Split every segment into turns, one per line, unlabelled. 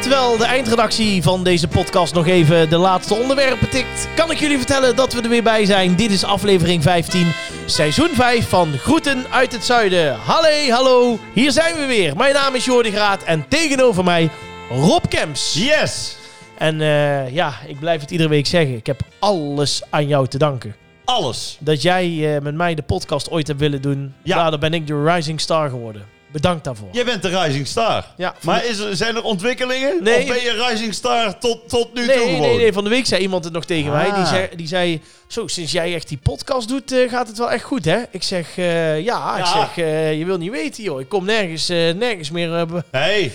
terwijl de eindredactie van deze podcast nog even de laatste onderwerpen tikt, kan ik jullie vertellen dat we er weer bij zijn. Dit is aflevering 15, seizoen 5 van Groeten uit het Zuiden. Halle, hallo, hier zijn we weer. Mijn naam is Jordi Graat en tegenover mij Rob Kemps.
Yes!
En eh, ja, ik blijf het iedere week zeggen. Ik heb alles aan jou te danken.
Alles.
Dat jij eh, met mij de podcast ooit hebt willen doen.
Ja.
Daardoor ben ik de rising star geworden. Bedankt daarvoor.
Jij bent de Rising Star.
Ja.
Maar is er, zijn er ontwikkelingen?
Nee.
Of ben je Rising Star tot, tot nu toe
Nee,
gewoon?
nee, nee, van de week zei iemand het nog tegen
Ah.
mij. Die zei, die zei, zo, sinds jij echt die podcast doet, eh, gaat het wel echt goed, hè? Ik zeg, eh, ja, ik
Ja.
zeg, eh, je wil niet weten, joh. Ik kom nergens, eh, nergens meer... eh, be-
Hey,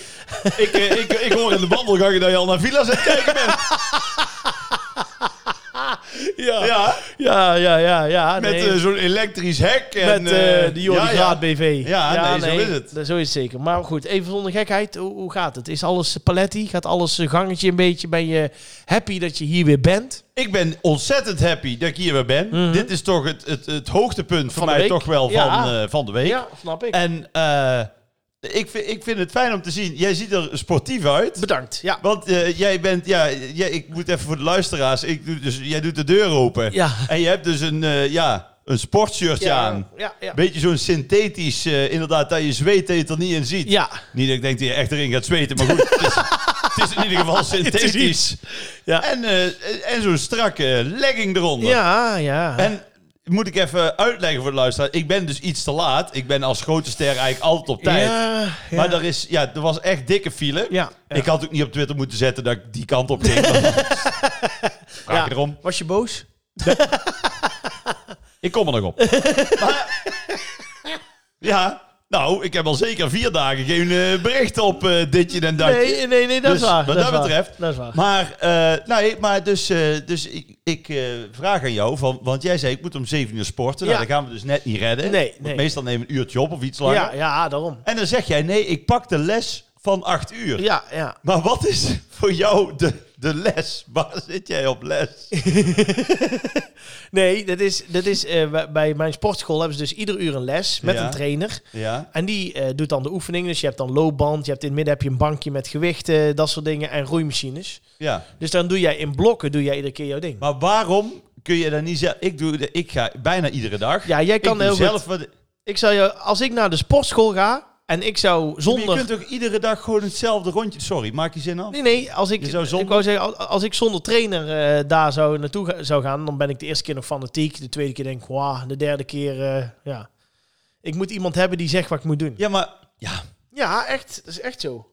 ik, eh, ik, ik hoor in de wandelgangen dat je al naar villa's aan het kijken bent.
ja. ja,
Ja,
ja, ja, ja.
met
nee.
eh, zo'n elektrisch hek. En,
Met eh, de Jordi
ja, ja.
Graat BV.
Ja, nee, zo is het.
Dat- Zo is het zeker. Maar goed, even zonder gekheid. Hoe, hoe gaat het? Is alles eh, paletti? Gaat alles eh, gangetje een beetje? Ben je happy dat je hier weer bent?
Ik ben ontzettend happy dat ik hier weer ben. Dit is toch het, het, het hoogtepunt voor
Mhm. de
mij
week.
toch wel
Ja.
van, eh, van de week.
Ja, snap ik.
En eh, ik, vind, ik vind het fijn om te zien. Jij ziet er sportief uit.
Bedankt. Ja.
Want eh, jij bent, ja, jij, ik moet even voor de luisteraars. Ik doe dus, jij doet de deur open.
Ja.
En je hebt dus een, eh, ja, een sportshirtje aan.
Ja, ja, ja.
Beetje zo'n synthetisch, eh, inderdaad, dat je zweet dat je het er niet in ziet.
Ja.
Niet dat ik denk dat je echt erin gaat zweten, maar goed. het, is, het is in ieder geval synthetisch.
Ja.
En, eh, en zo'n strakke legging eronder.
Ja, ja.
En moet ik even uitleggen voor de luisteraar. Ik ben dus iets te laat. Ik ben als grote ster eigenlijk altijd op tijd.
Ja, ja.
Maar er, is, ja, er was echt dikke file.
Ja, ja.
Ik had ook niet op Twitter moeten zetten dat ik die kant op ging. Vraag
Ja.
je erom.
Was je boos?
Ik kom er nog op. Maar- ja, nou, ik heb al zeker vier dagen geen eh, bericht op eh, ditje en datje.
Nee, nee, nee, dat
Dus
is waar.
wat
is
dat
waar.
betreft-
Dat is waar.
Maar, eh, nee, maar dus, eh, dus ik, ik eh, vraag aan jou, van, want jij zei ik moet om 7 uur sporten.
Ja.
Nou, dat gaan we dus net niet redden.
Nee,
Want
nee.
Meestal neem ik een uurtje op of iets langer.
Ja, ja, daarom.
En dan zeg jij nee, ik pak de les van 8 uur.
Ja, ja.
Maar wat is voor jou de, de les? Waar zit jij op les?
Nee, dat is, dat is eh, bij- bij mijn sportschool hebben ze dus ieder uur een les met
Ja.
een trainer.
Ja.
En die eh, doet dan de oefening. Dus je hebt dan loopband, je hebt in het midden heb je een bankje met gewichten, dat soort dingen en roeimachines.
ja.
Dus dan doe jij in blokken doe jij iedere keer jouw ding.
Maar waarom kun je dan niet zeggen... Ik, doe, de- ik ga bijna iedere dag.
Ja, jij kan
ik doe
heel
zelf
goed.
wat-
Ik zou je, als ik naar de sportschool ga en ik zou
Maar Je
zonder.
kunt toch iedere dag gewoon hetzelfde rondje... Sorry, maak je zin af?
Nee, nee, als ik,
Je zou
ik
zonder-
wou zeggen, als- als ik zonder trainer eh, daar zou naartoe ga- zou gaan, dan ben ik de eerste keer nog fanatiek. De tweede keer denk ik, wauw, de derde keer, eh, ja. Ik moet iemand hebben die zegt wat ik moet doen.
Ja, maar... Ja,
Ja, echt, dat is echt zo.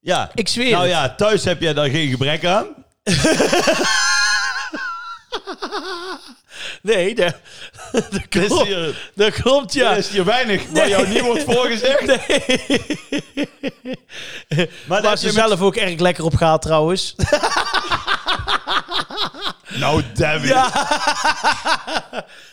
ja.
Ik zweer
nou
het.
ja, thuis heb jij daar geen gebrek aan.
Nee, dat, dat
Er is
klopt.
hier,
Dat klopt, ja.
er is hier weinig waar jou niet wordt voorgezegd. Maar
Waar
dat
ze
je met-
zelf ook erg lekker op gaat trouwens.
Nou, damn it.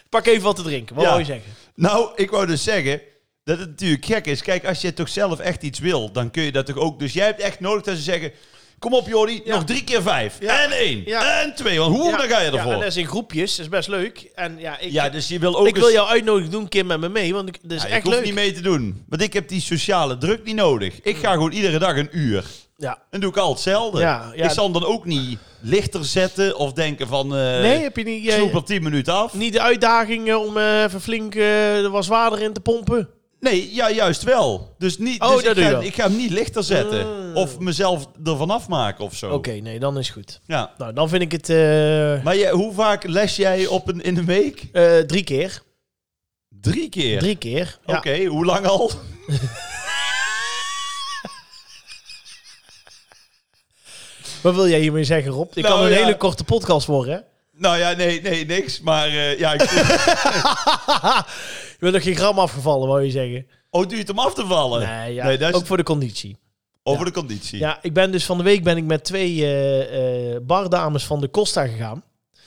Pak even wat te drinken, wat
Ja.
wou je zeggen?
Nou, ik wou dus zeggen dat het natuurlijk gek is. Kijk, als je toch zelf echt iets wil, dan kun je dat toch ook. Dus jij hebt echt nodig dat ze zeggen: Kom op, Jordi,
Ja.
nog drie keer vijf.
Ja.
En één.
Ja.
En twee. Want hoe dan ga je
Ja, en
ervoor?
dat
Ja,
is in groepjes, dat is best leuk. En ja, ik,
dus je wil ook.
ik wil
eens-
jou uitnodigen, doen een keer met me mee, want ik, dat is
Ja, Nou, ik
echt
hoef
leuk.
niet mee te doen. Want ik heb die sociale druk niet nodig. Ik ga gewoon iedere dag een uur.
Ja.
Dan doe ik al hetzelfde.
Ja, ja.
Ik zal hem dan ook niet lichter zetten of denken van. eh
Nee, heb je niet,
Ik
eh,
snoep er tien minuten af.
niet de uitdaging eh, om eh, even flink eh, er wat zwaarder in te pompen?
Oh. Nee, ja, juist wel. Dus, niet,
Oh,
dus
dat
ik,
doe je
ga,
wel. Ah.
ik ga hem niet lichter zetten. Of mezelf ervan afmaken of zo.
Oké, nee, dan is goed.
Ja.
Nou, dan vind ik het eh,
Maar jij, hoe vaak les jij op een, in een week?
eh, drie keer.
Drie keer.
Drie keer. Ja.
Oké, hoe lang al?
Wat wil jij hiermee zeggen, Rob? Dit
Nou,
kan een
ja.
hele korte podcast worden, hè?
Nou ja, nee, nee, niks. Maar eh, ja, ik...
Je bent nog geen gram afgevallen, wou je zeggen.
oh, duurt hem af te vallen?
Nee, ja,
dat is
ook voor de conditie.
over de conditie.
Ja, ik ben dus van de week ben ik met twee eh, eh, bardames van de Costa gegaan.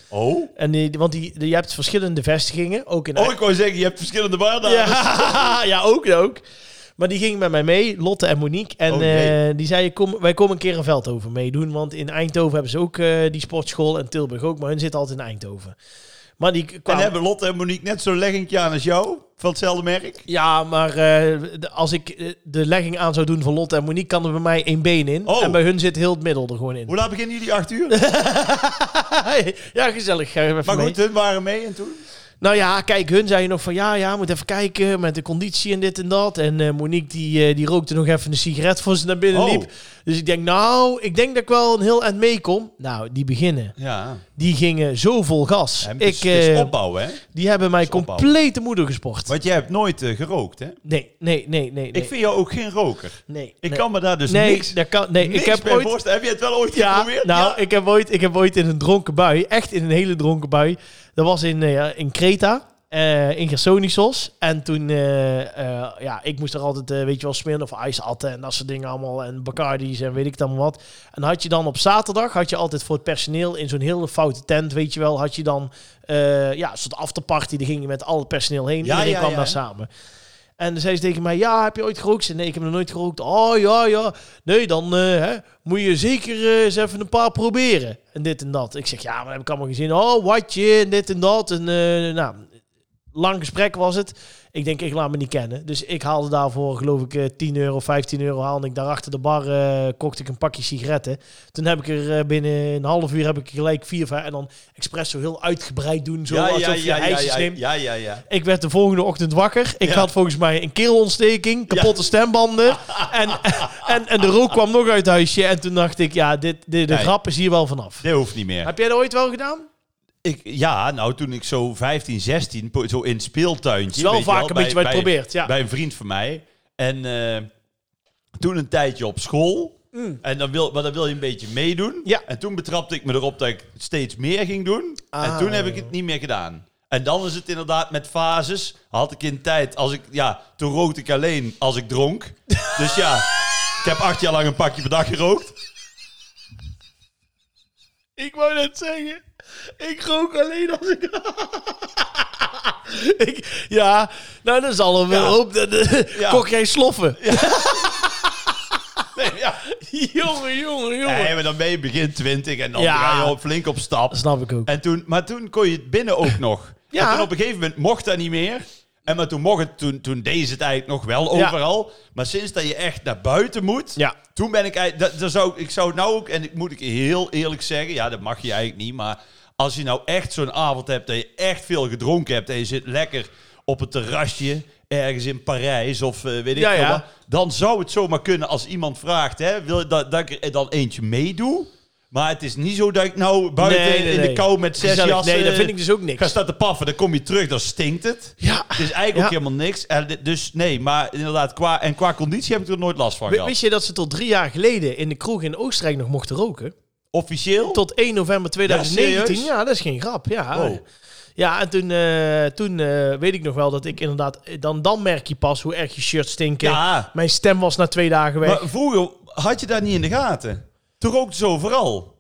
Oh?
En die, want die, die- je hebt verschillende vestigingen, ook in
Oh, ik wou zeggen, je hebt verschillende waarden.
Ja, ja ook, ook. Maar die gingen met mij mee, Lotte en Monique. En
Oh, nee.
eh, die zeiden, kom, wij komen een keer in Veldhoven meedoen. Want in Eindhoven hebben ze ook eh, die sportschool en Tilburg ook. Maar hun zitten altijd in Eindhoven. Maar die
En
kwamen...
hebben Lotte en Monique net zo'n leggingje aan als jou? Van hetzelfde merk?
Ja, maar eh, de- als ik eh, de legging aan zou doen van Lotte en Monique, kan er bij mij één been in.
Oh.
En bij hun zit heel het middel er gewoon in.
Hoe laat beginnen jullie? Acht uur?
ja, gezellig. Ga even
Maar
mee.
goed, hun waren mee en toen?
Nou ja, kijk, hun zei nog van ja, ja, moet even kijken met de conditie en dit en dat. En eh, Monique die, eh, die rookte nog even een sigaret voor ze naar binnen
Oh.
liep. Dus ik denk, nou, ik denk dat ik wel een heel eind meekom. Nou, die beginnen.
Ja.
Die gingen zo vol gas.
En
ik,
ik, is
eh,
opbouwen, hè?
die hebben mij
is opbouw.
compleet de moeder gesport.
Want jij hebt nooit eh, gerookt, hè?
Nee, nee, nee, nee. nee,
Ik vind jou ook geen roker.
nee,
Ik
nee.
kan me daar dus
nee,
niks,
dat kan, nee,
niks
ik heb
bij
ooit
voorstellen. Heb je het wel ooit
Ja,
geprobeerd?
nou,
Ja.
Ik, heb ooit, ik heb ooit in een dronken bui, echt in een hele dronken bui. Dat was in, eh, ja, in Creta, eh, in Gersonisos. En toen, eh, eh, ja, ik moest er altijd, eh, weet je wel, smeren of ijs atten en dat soort dingen allemaal. En Bacardi's en weet ik dan wat. En had je dan op zaterdag, had je altijd voor het personeel in zo'n hele foute tent, weet je wel, had je dan eh, ja, een soort afterparty. Daar ging je met al het personeel
Ja,
heen. Iedereen
ja,
kwam
ja.
daar samen. En dan zei ze tegen mij, ja, heb je ooit gerookt? Ik zei, nee, ik heb nog nooit gerookt. Oh, ja, ja. Nee, dan eh, hè, moet je zeker eh, eens even een paar proberen. En dit en dat. Ik zeg, ja, maar dat heb ik allemaal gezien. Oh, watje, en dit en dat. En eh, nou, lang gesprek was het. Ik denk, ik laat me niet kennen. Dus ik haalde daarvoor, geloof ik, eh, 10 euro, 15 euro haalde ik. Daar achter de bar eh kocht ik een pakje sigaretten. Toen heb ik er eh, binnen een half uur heb ik gelijk vier, vijf. En dan expres zo heel uitgebreid doen. Zo alsof je ijsjes
ja,
neemt.
ja, ja, ja.
Ik werd de volgende ochtend wakker. Ik
Ja.
had volgens mij een keelontsteking,
Ja.
kapotte stembanden. En, en, en de rook kwam nog uit het huisje. En toen dacht ik, ja, dit, dit, de
Nee.
grap is hier wel vanaf.
Dat hoeft niet meer.
Heb jij dat ooit wel gedaan?
Ik, ja, nou toen ik zo 15, 16, po- zo in het speeltuintje.
Het is wel
weet je
vaak een beetje wat je probeert, ja.
Bij een vriend van mij. En eh, toen een tijdje op school. En dan wil, maar dan wil je een beetje meedoen.
Mm. Ja.
En toen betrapte ik me erop dat ik steeds meer ging doen. en
Ah,
toen heb ik
joh.
het niet meer gedaan. En dan is het inderdaad met fases. Had ik in tijd, als ik, ja, toen rookte ik alleen als ik dronk. dus ja, ik heb acht jaar lang een pakje per dag gerookt.
Ik wou net zeggen, ik rook alleen als ik... ik ja, nou dan zal er wel
Ja.
op. dat- dat-
Ja.
Kok jij sloffen?
Nee, ja.
jongen, jongen, jongen.
Nee, maar dan ben je begin 20 en dan
Ja.
ga je al flink op stap.
Dat snap ik ook.
En toen, maar toen kon je het binnen ook nog.
Ja.
En toen op een gegeven moment mocht dat niet meer. En maar toen, mocht het, toen, toen deed ze het eigenlijk nog wel
Ja.
overal. Maar sinds dat je echt naar buiten moet,
Ja.
toen ben ik eigenlijk... Dat, dat zou, ik- ik zou nou ook, en ik moet ik heel eerlijk zeggen, ja, dat mag je eigenlijk niet, maar als je nou echt zo'n avond hebt dat je echt veel gedronken hebt en je zit lekker op het terrasje ergens in Parijs of eh, weet ik
Ja,
veel
ja.
wat, dan zou het zomaar kunnen als iemand vraagt, hè, wil je dat, dat ik er dan eentje meedoe? Maar het is niet zo dat ik nou buiten
Nee, nee,
in
nee.
de kou met zes
Gezellig.
jassen... eh,
Nee, dat vind ik dus ook
Ga
niks.
staan te paffen, dan kom je terug, dan stinkt het.
Ja.
Het is eigenlijk ook
Ja.
helemaal niks. En dit- dus nee, maar inderdaad, qua, en qua conditie heb ik er nooit last van
Wi-
gehad.
Wist je dat ze tot drie jaar geleden in de kroeg in Oostenrijk nog mochten roken?
Officieel?
Tot 1 november 2019.
serieus?
Ja, dat is geen grap. Ja,
Wow.
ja en toen, eh, toen eh, weet ik nog wel dat ik inderdaad... eh, Dan, dan merk je pas hoe erg je shirts stinken.
Ja,
Mijn stem was na twee dagen weg.
maar vroeger had je dat niet in de gaten. Toen rookte ze overal.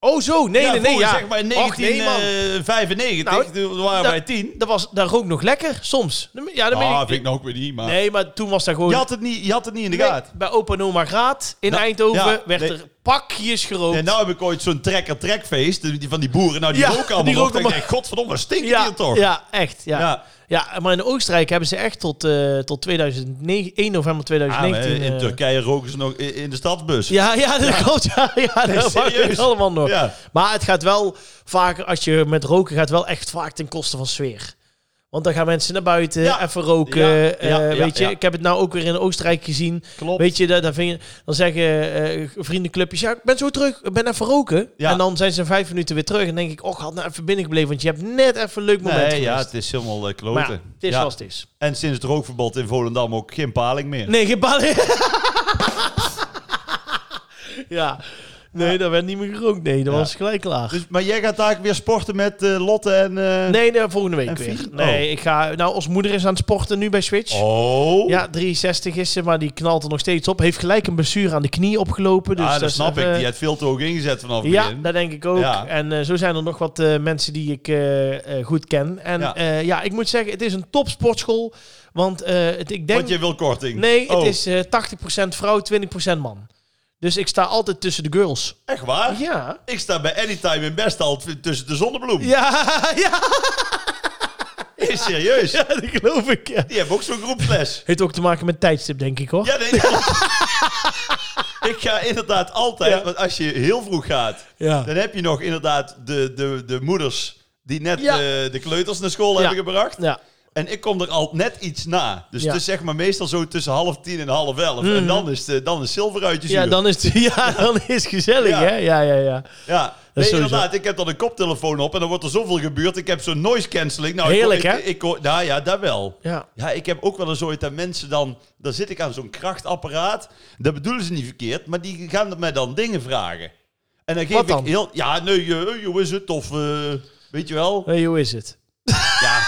oh zo, nee, nee, nee.
vroeger,
Ja.
zeg maar in
Och, nee, man.
1995,
Nou,
toen waren
dat-
wij tien.
eh, dat, was, dat rook nog lekker, soms. Dan- Ja, dat
Ah,
meen
vind
ik.
ik nou ook weer niet, maar...
Nee, maar toen was dat gewoon...
Je, had het niet, je had het niet in de
Nee,
gaten.
bij opa Noma Graat in
Nou,
Eindhoven
ja,
werd
nee.
er pakjes gerookt.
En nou heb ik ooit zo'n trekker-trekfeest die- van die boeren. Nou, die
Ja,
roken allemaal
die
nog.
roken
Dan
allemaal-
denk ik, godverdomme, wat stinkt
ja,
hier toch?
ja, echt. Ja.
Ja.
Ja, maar in Oostenrijk hebben ze echt tot, eh, tot 2009, 1 november
Ah, maar
2019...
in
eh,
Turkije roken ze nog i- in de stadsbus.
Ja, ja, dat klopt. Ja, ja dat mag
serieus.
het allemaal nog.
Ja.
Maar het gaat wel vaker, als je met roken gaat, wel echt vaak ten koste van sfeer. Want dan gaan mensen naar buiten,
Ja.
even roken.
Ja,
eh,
ja, ja,
weet je,
ja.
ik heb het nou ook weer in Oostenrijk gezien.
Klopt.
Weet je, daar, daar vind je- dan zeggen eh, vriendenclubjes, ja, ik ben zo terug, ik ben even roken.
Ja.
En dan zijn ze in vijf minuten weer terug en denk ik, och, had nou even binnengebleven, want je hebt net even een leuk moment
Nee,
gemist.
ja, het is helemaal eh, kloten.
maar ja, het is
Ja.
zoals het is.
En sinds het rookverbod in Volendam ook geen paling meer.
Nee, geen bal. ja. Nee, dat werd niet meer gerookt. Nee, dat
Ja.
was gelijk klaar.
Dus, maar jij gaat daar weer sporten met eh, Lotte en... eh,
nee, nee, volgende
En
week weer.
Fien?
Nee, ik ga... Nou, ons moeder is aan het sporten nu bij Switch.
Oh,
Ja, 63 is ze, maar die knalt er nog steeds op. Heeft gelijk een blessure aan de knie opgelopen. Dus
Ah, dat
is
snap ik.
even-
Die had veel te hoog ingezet vanaf het
Ja,
begin.
dat denk ik ook.
Ja.
En eh, zo zijn er nog wat eh, mensen die ik eh, eh, goed ken. En
Ja.
ja. ja, ik moet zeggen, het is een top sportschool. Want eh, het, ik denk...
Want je wil korting.
Nee,
Oh,
het is eh 80% vrouw, 20% man. Dus ik sta altijd tussen de girls.
Echt waar?
Ja.
Ik sta bij Anytime in Bestal t- tussen de zonnebloem.
Ja, ja,
Is serieus.
ja, dat geloof ik. Ja.
Die hebben ook zo'n groepsles.
Heeft ook te maken met tijdstip, denk ik hoor.
Ja, nee. klopt. ik ga inderdaad altijd,
Ja.
want als je heel vroeg gaat,
Ja.
dan heb je nog inderdaad de, de, de moeders die net
Ja.
eh, de kleuters naar school hebben gebracht.
Ja.
En ik kom er al net iets na. Dus
Ja. Mhm.
het is zeg maar meestal zo tussen half tien en half elf. En dan is, de, dan is zilveruitjes
Ja, dan is het ja, dan is het gezellig,
Ja.
hè? Ja, ja, ja.
Ja,
is
nee,
sowieso-
inderdaad. Ik heb dan een koptelefoon op en dan wordt er zoveel gebeurd. Ik heb zo'n noise cancelling. Nou, ik-
Heerlijk,
ik,
hè?
Ik, hoor- nou ja, daar wel.
Ja.
Ja, ik heb ook wel eens ooit dat mensen dan... Dan zit ik aan zo'n krachtapparaat. Dat bedoelen ze niet verkeerd, maar die gaan mij dan dingen vragen. En dan geef
Wat dan?
ik heel... Ja, nee, eh, hoe is het? Of, eh, weet je wel?
Hey, hoe is het?
Ja.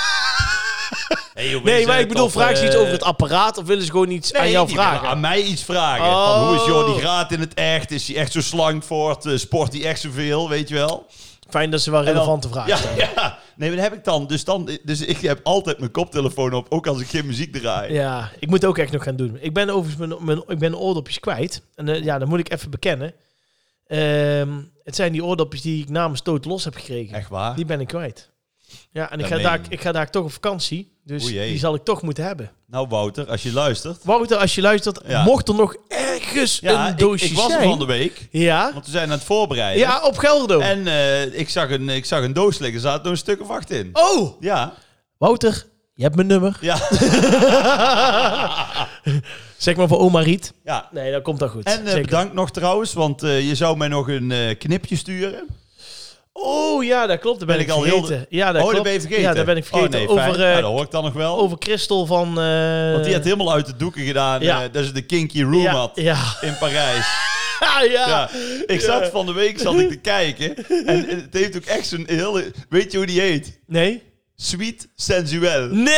Hey, hoe
Nee,
is
maar
het?
ik bedoel,
Of,
vraag ze iets
eh,
over het apparaat of willen ze gewoon iets
Nee,
aan jou
die willen
vragen?
Aan mij iets vragen.
Oh.
Van, hoe is Jordi Graat in het echt? Is hij echt zo slankvoort? Eh, Sport hij echt zoveel? Weet je wel?
Fijn dat ze wel
En dan-
relevante vragen stellen.
ja, ja. Nee, maar dat heb ik dan. Dus, dan. dus ik heb altijd mijn koptelefoon op, ook als ik geen muziek draai.
Ja, ik moet ook echt nog gaan doen. Ik ben overigens mijn, mijn, ik ben oordopjes kwijt. En eh, ja, dat moet ik even bekennen. Ehm, het zijn die oordopjes die ik namens Toot Los heb gekregen.
Echt waar?
Die ben ik kwijt. Ja, en ik
Dat
ga,
meen je
daar,
niet.
ik ga daar toch op vakantie. Dus
Oei, jee.
die zal ik toch moeten hebben.
Nou, Wouter, als je luistert.
Wouter, als je luistert,
Ja.
mocht er nog ergens
Ja,
een
ik,
doosje
ik was er
zijn.
van de week.
ja?
Want we zijn aan het voorbereiden.
ja, op Gelderdoom.
En eh, ik, zag een, ik zag een doos liggen. Er zaten nog een stuk of acht in.
Oh,
Ja.
Wouter, je hebt mijn nummer.
Ja.
Zeg maar voor oma Riet.
ja.
Nee, dat komt dan goed.
En eh,
Zeker.
bedankt nog trouwens, want eh, je zou mij nog een eh, knipje sturen.
Oh ja, dat klopt. Dat ben,
Ben
ik
ik al heel de-
vergeten. Ja, dat
oh, dat
klopt.
ben je vergeten.
Ja, dat ben ik vergeten.
Oh, nee, fijn.
over, eh,
Ja, dat hoor ik dan nog wel.
over Christel van... eh,
want die had helemaal uit de doeken gedaan.
ja.
eh, dat ze de kinky room
ja,
had
Ja.
in Parijs.
Ja, ja.
Ja, ik zat van de week zat ik te kijken. En het heeft ook echt zo'n hele... Weet je hoe die heet?
Nee?
Sweet Sensuel.
Nee!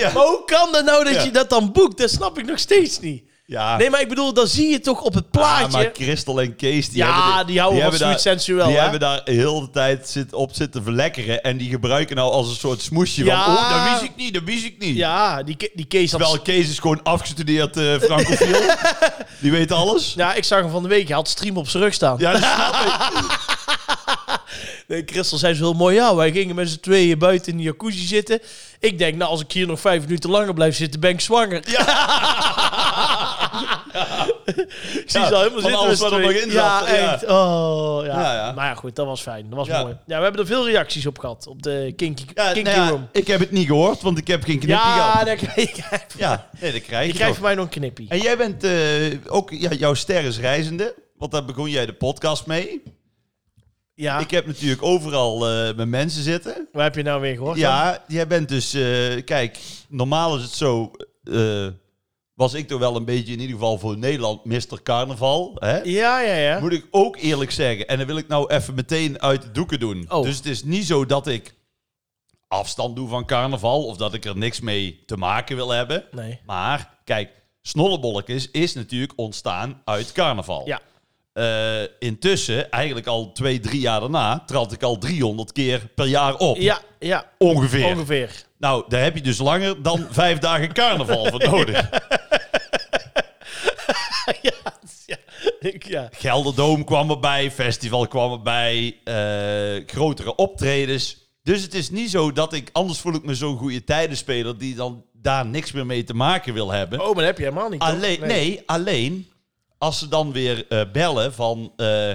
ja.
Maar hoe kan dat nou dat
Ja.
je dat dan boekt? Dat snap ik nog steeds niet.
Ja.
Nee, maar ik bedoel, dan zie je toch op het
Ah,
plaatje...
maar Christel en Kees, die
Ja,
hebben... de-
die houden van
hebben daar-
Sweet Sensuel,
Die
hè?
hebben daar heel de tijd zit, op zitten verlekkeren. En die gebruiken nou als een soort smoesje
Ja.
van... Oh, dat wist ik niet, dat wist ik niet.
ja, die, Ke- die Kees had...
Terwijl Kees is gewoon afgestudeerd eh francofiel. die weet alles.
Ja, ik zag hem van de week. Hij had stream op zijn rug staan.
Ja, dat snap ik.
Nee, Christel zei zo heel mooi. Ja, wij gingen met z'n tweeën buiten in de jacuzzi zitten. Ik denk, nou, als ik hier nog vijf minuten langer blijf zitten, ben ik zwanger. Ja. ik zie
Ja,
ze al helemaal
van
zitten.
alles
met z'n
wat er nog
tweeën.
in
Ja,
zat, ja.
echt. Oh, ja.
Ja, ja.
Maar ja, goed, dat was fijn. Dat was
Ja.
mooi. Ja, we hebben er veel reacties op gehad. Op de Kinky,
Ja,
kinky
nou ja,
Room.
ik heb het niet gehoord, want ik heb geen knipje
Ja,
gehad.
daar krijg je,
Ja, nee, dat krijg
je
je,
krijgt
nog.
van mij nog een knippie.
En jij bent eh, ook, ja, jouw ster is reizende, want daar begon jij de podcast mee.
Ja,
Ik heb natuurlijk overal eh mijn mensen zitten.
waar heb je nou weer gehoord? dan?
Ja, jij bent dus, eh, kijk, normaal is het zo, eh, was ik toch wel een beetje in ieder geval voor Nederland Mr. Carnaval. Hè?
Ja, ja, ja.
Moet ik ook eerlijk zeggen, en dat wil ik nou even meteen uit de doeken doen.
Oh.
Dus het is niet zo dat ik afstand doe van carnaval of dat ik er niks mee te maken wil hebben.
Nee.
Maar kijk, Snollebolletjes is natuurlijk ontstaan uit carnaval.
Ja.
Eh, intussen, eigenlijk al twee, drie jaar daarna, trad ik al 300 keer per jaar op.
Ja, ja,
Ongeveer.
ongeveer.
Nou, daar heb je dus langer dan vijf dagen carnaval voor nodig.
ja, ja. Ik, ja.
Gelderdoom kwam erbij, festival kwam erbij, eh, grotere optredens. Dus het is niet zo dat ik, anders voel ik me zo'n goede tijdenspeler die dan daar niks meer mee te maken wil hebben.
Oh, maar dat heb je helemaal niet. toch?
Alleen, nee. alleen als ze dan weer eh, bellen van... eh,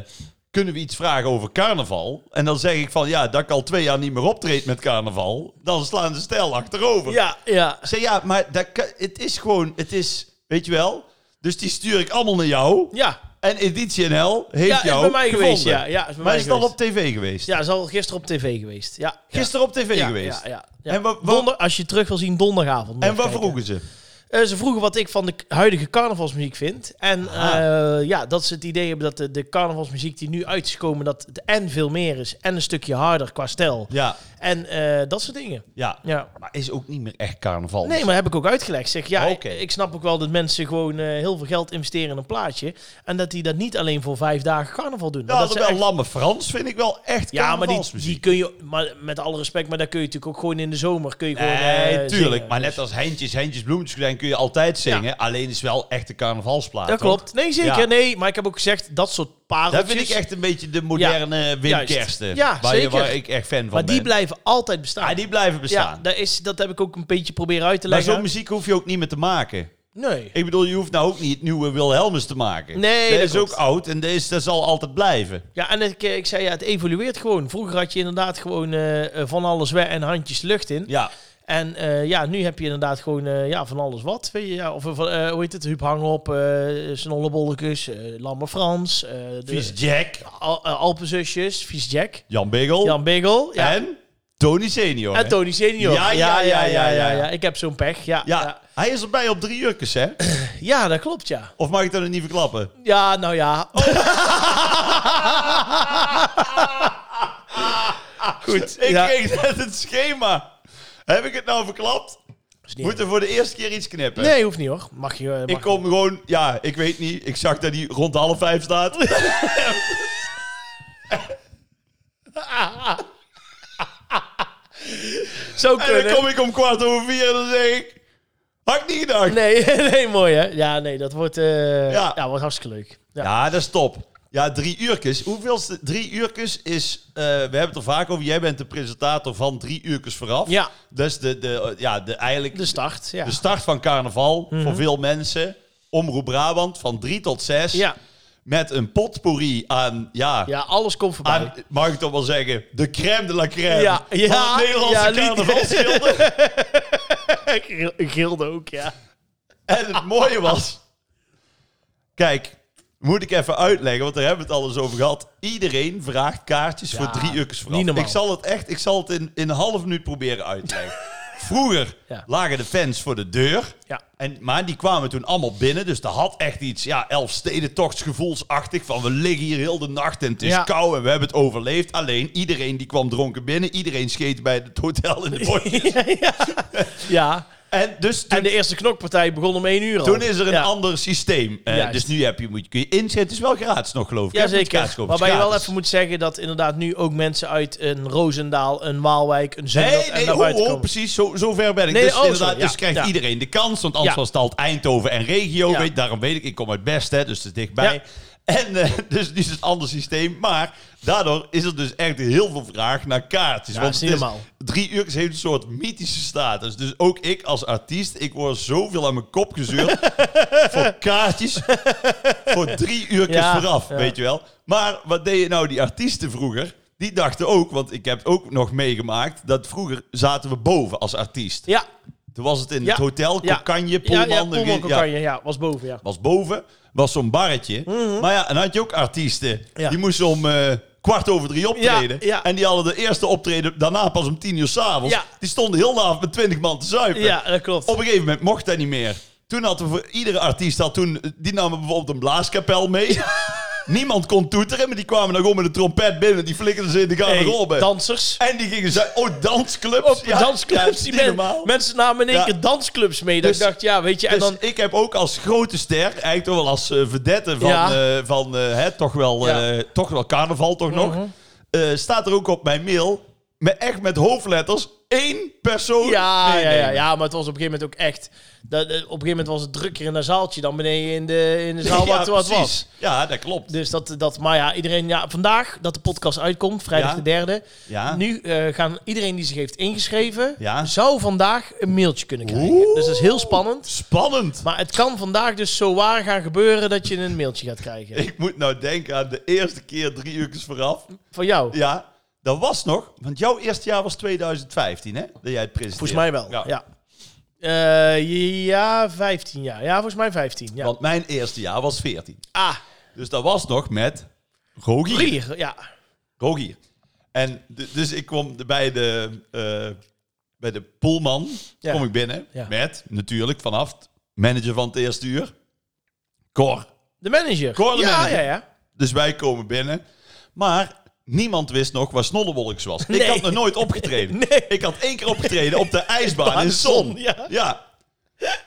kunnen we iets vragen over carnaval? En dan zeg ik van, ja, dat ik al twee jaar niet meer optreed met carnaval. Dan slaan ze stijl achterover.
Ja, ja.
Ik zeg, ja, maar dat, kan- het is gewoon, het is, weet je wel... Dus die stuur ik allemaal naar jou.
Ja,
En Editie NL heeft
ja is
jou
bij mij
gevonden.
geweest. Ja, ja, is bij
maar
mij
is het al
geweest.
op tv geweest?
Ja, is al gisteren op tv geweest. Ja.
Gisteren op tv
ja,
geweest.
Ja, ja, ja.
En wa- wa-
Donder, als je het terug wil zien, donderdagavond. moet je
En wat
kijken.
vroegen ze?
Eh, ze vroegen wat ik van de k- huidige carnavalsmuziek vind. En
Aha.
eh, ja, dat ze het idee hebben dat de, de carnavalsmuziek die nu uit is gekomen... dat het en veel meer is en een stukje harder qua stijl.
Ja,
En eh, dat soort dingen.
ja.
Ja.
Maar is ook niet meer echt carnaval.
Nee, maar heb ik ook uitgelegd. Zeg, ja,
Oké.
ik, ik snap ook wel dat mensen gewoon eh, heel veel geld investeren in een plaatje. En dat die dat niet alleen voor vijf dagen carnaval doen. maar
Nou,
dat
dat
ze
wel
echt-
Lamme Frans vind ik wel echt
Ja, maar die,
carnavalsmuziek.
die kun je, maar met alle respect, maar daar kun je natuurlijk ook gewoon in de zomer kun je gewoon.
Nee,
eh,
tuurlijk.
zingen.
Maar net als Heintjes, Heintjes Bloemetjes, kun je altijd zingen. Alleen is wel echt de carnavalsplaat.
Dat
hoor.
klopt. Nee, zeker.
Ja.
Nee, maar ik heb ook gezegd, dat soort pareltjes...
Dat vind ik echt een beetje de moderne Wim
Juist.
Kersten.
Ja,
waar, je-
zeker.
waar ik echt fan van
Maar die
ben.
blijven altijd bestaan.
Ah, die blijven bestaan.
Ja, dat, is, dat heb ik ook een beetje proberen uit te
maar
leggen.
zo'n muziek hoef je ook niet meer te maken.
Nee.
Ik bedoel, je hoeft nou ook niet het nieuwe Wilhelmus te maken.
Nee,
dat
dat
is
klopt.
ook oud en deze dat zal altijd blijven.
Ja, en ik, ik zei, ja, het evolueert gewoon. Vroeger had je inderdaad gewoon eh, eh, van alles weg en handjes lucht in.
Ja,
En eh, ja, nu heb je inderdaad gewoon eh, ja, van alles wat. Weet je, ja, of eh, van, eh, hoe heet het? Huub Hangop, eh Snollebollekus, eh Lamme Frans, eh, de,
Vies Jack,
Al- eh, Alpenzusjes, Vies Jack,
Jan Biggel
Jan Biggel ja.
en Tony Senior.
en
hè?
Tony Senior.
Ja, ja, ja, ja, ja.
Ik heb zo'n pech, ja.
ja,
ja.
hij is erbij op drie jurkjes, hè?
Ja, dat klopt, ja.
Of mag ik dat nog niet verklappen?
Ja, nou ja.
Oh,
Goed.
Ik
ja.
kreeg net het schema. Heb ik het nou verklapt?
Is niet
Moeten we voor de eerste keer iets knippen?
Nee, hoeft niet hoor. Mag je. eh, mag
Ik kom gewoon, ja, ik weet niet. Ik zag dat hij rond de half vijf staat.
Zou
En
kunnen.
dan kom ik om kwart over vier en dan zeg ik... Had ik niet gedacht.
Nee, nee, mooi hè. Ja, nee, dat wordt, eh,
Ja.
ja. wordt hartstikke leuk. Ja.
Ja, dat is top. Ja, drie uurkes. Hoeveelste drie uurkes is... eh, we hebben het er vaak over. Jij bent de presentator van drie uurkes vooraf.
Ja.
Dat is de, de, ja, Dus- de, eigenlijk
De start, ja. Mhm.
de start van carnaval voor veel mensen. Omroep Brabant van drie tot zes.
ja.
Met een potpourri aan... Ja,
Ja, alles komt voorbij.
aan, mag ik toch wel zeggen... De crème de la crème
Ja, ja,
van het Nederlandse
ja, lied.
carnavalschilder.
Gil- Gilde ook, ja.
En het mooie was. Kijk, moet ik even uitleggen, want daar hebben we het al eens over gehad. Iedereen vraagt kaartjes voor drie ukkers
niet
vooraf.
normaal.
Ik zal het echt, ik zal het in, in een half minuut proberen uit te leggen. Vroeger
Ja.
lagen de fans voor de deur.
Ja.
En, maar die kwamen toen allemaal binnen. Dus dat had echt iets, ja, elfstedentochtsgevoelsachtig. Van we liggen hier heel de nacht en het is
Ja.
koud en we hebben het overleefd. Alleen iedereen die kwam dronken binnen. Iedereen scheet bij het hotel in de bordjes.
ja.
En dus toen
En de eerste knokpartij begon om één uur al.
toen is er een
ja.
ander systeem. Eh,
Juist.
dus nu heb je, moet, je- kun je inzetten. Het is wel gratis nog, geloof ik. hè,
Ja,
voor het
zeker.
kaartskopen. Het
Waarbij
is
je wel
gratis.
even moet zeggen dat inderdaad nu ook mensen uit een Roosendaal, een Waalwijk, een Zundert
Nee,
en
nee,
naar
oh,
buiten
oh,
komen.
precies. Zo, zo ver ben ik.
Nee,
dus
oh, sorry,
inderdaad,
ja,
dus krijgt
ja.
iedereen de kans. Want anders
Ja.
was het altijd Eindhoven en regio.
Ja.
Weet, daarom weet ik, ik kom uit Best, hè, dus het is dichtbij.
Ja.
En eh, dus nu is het een ander systeem. Maar daardoor is er dus echt heel veel vraag naar kaartjes.
Ja,
want
is
het
niet normaal.
drie uur heeft een soort mythische status. Dus ook ik als artiest, ik word zoveel aan mijn kop gezeurd voor kaartjes. voor drie uurtjes
Ja,
vooraf,
ja.
weet je wel. Maar wat deden nou die artiesten vroeger? Die dachten ook, want ik heb het ook nog meegemaakt, dat vroeger zaten we boven als artiest.
Ja,
Toen was het in
Ja.
het hotel,
Ja.
Kokanje,
ja,
Poelman.
ja,
de-
Poelman
ja,
Kokanje, ja, was boven, ja.
was boven, was zo'n barretje. Maar ja, en dan had je ook artiesten.
Mhm. Ja.
Die moesten om eh, kwart over drie optreden.
Ja, ja.
En die hadden de eerste optreden daarna pas om tien uur s'avonds.
Ja.
Die stonden heel de avond met twintig man te zuipen.
Ja, dat klopt.
Op een gegeven moment mocht dat niet meer. Toen hadden we voor iedere artiest, had toen, die namen bijvoorbeeld een blaaskapel mee. Niemand kon toeteren, maar die kwamen dan gewoon met een trompet binnen. Die flikkerden ze in de
Hey,
garderobe.
dansers.
en die gingen zo, oh, dansclubs.
Op dansclubs.
eh, ja,
die
niet
men-
normaal.
mensen namen in één
Ja.
keer dansclubs mee. Dat
Dus-
ik dacht, ja, weet je. En
Dus
dan,
ik heb ook als grote ster, eigenlijk toch wel als eh, vedette van,
Ja.
eh, van eh, hè, toch, wel,
Ja. Mhm.
eh, toch wel carnaval, toch nog. eh, staat er ook op mijn mail, met, echt met hoofdletters, één persoon.
ja, ja,
meenemen.
ja, ja, maar het was op een gegeven moment ook echt... Dat, eh, op een gegeven moment was het drukker in dat zaaltje dan beneden in de, in de zaal
Ja,
wat wat het
precies.
was.
Ja, dat klopt.
Dus dat, dat, maar ja, iedereen, ja, vandaag dat de podcast uitkomt, vrijdag
Ja.
de derde.
Ja.
Nu eh, gaan iedereen die zich heeft ingeschreven,
Ah. Ja.
zou vandaag een mailtje kunnen krijgen.
Oeh.
Dus dat is heel spannend.
Spannend.
Maar het kan vandaag dus zo waar gaan gebeuren dat je een mailtje gaat krijgen.
Ik moet nou denken aan de eerste keer drie uurtjes vooraf.
Van jou.
Ja, dat was nog, want jouw eerste jaar was 2015, hè? Dat jij het presenteerde.
Volgens mij wel. Ja. Ja. Eh, ja, 15 jaar. Ja, volgens mij 15. Ja.
Want mijn eerste jaar was 14.
Ah,
Dus dat was nog met Rogier.
Rier. Ja.
Rogier. En d- dus ik kwam bij de, eh, bij de poolman
Ja.
kom ik binnen
Ja.
met natuurlijk vanaf t- manager van het eerste uur, Cor.
De manager.
Cor, de
ja,
manager.
ja, ja.
Dus wij komen binnen, maar niemand wist nog waar Snollewolks was. Ik
Nee.
had nog nooit opgetreden.
Nee.
Ik had één keer opgetreden op de ijsbaan
Baan
in Zon.
Zon, ja.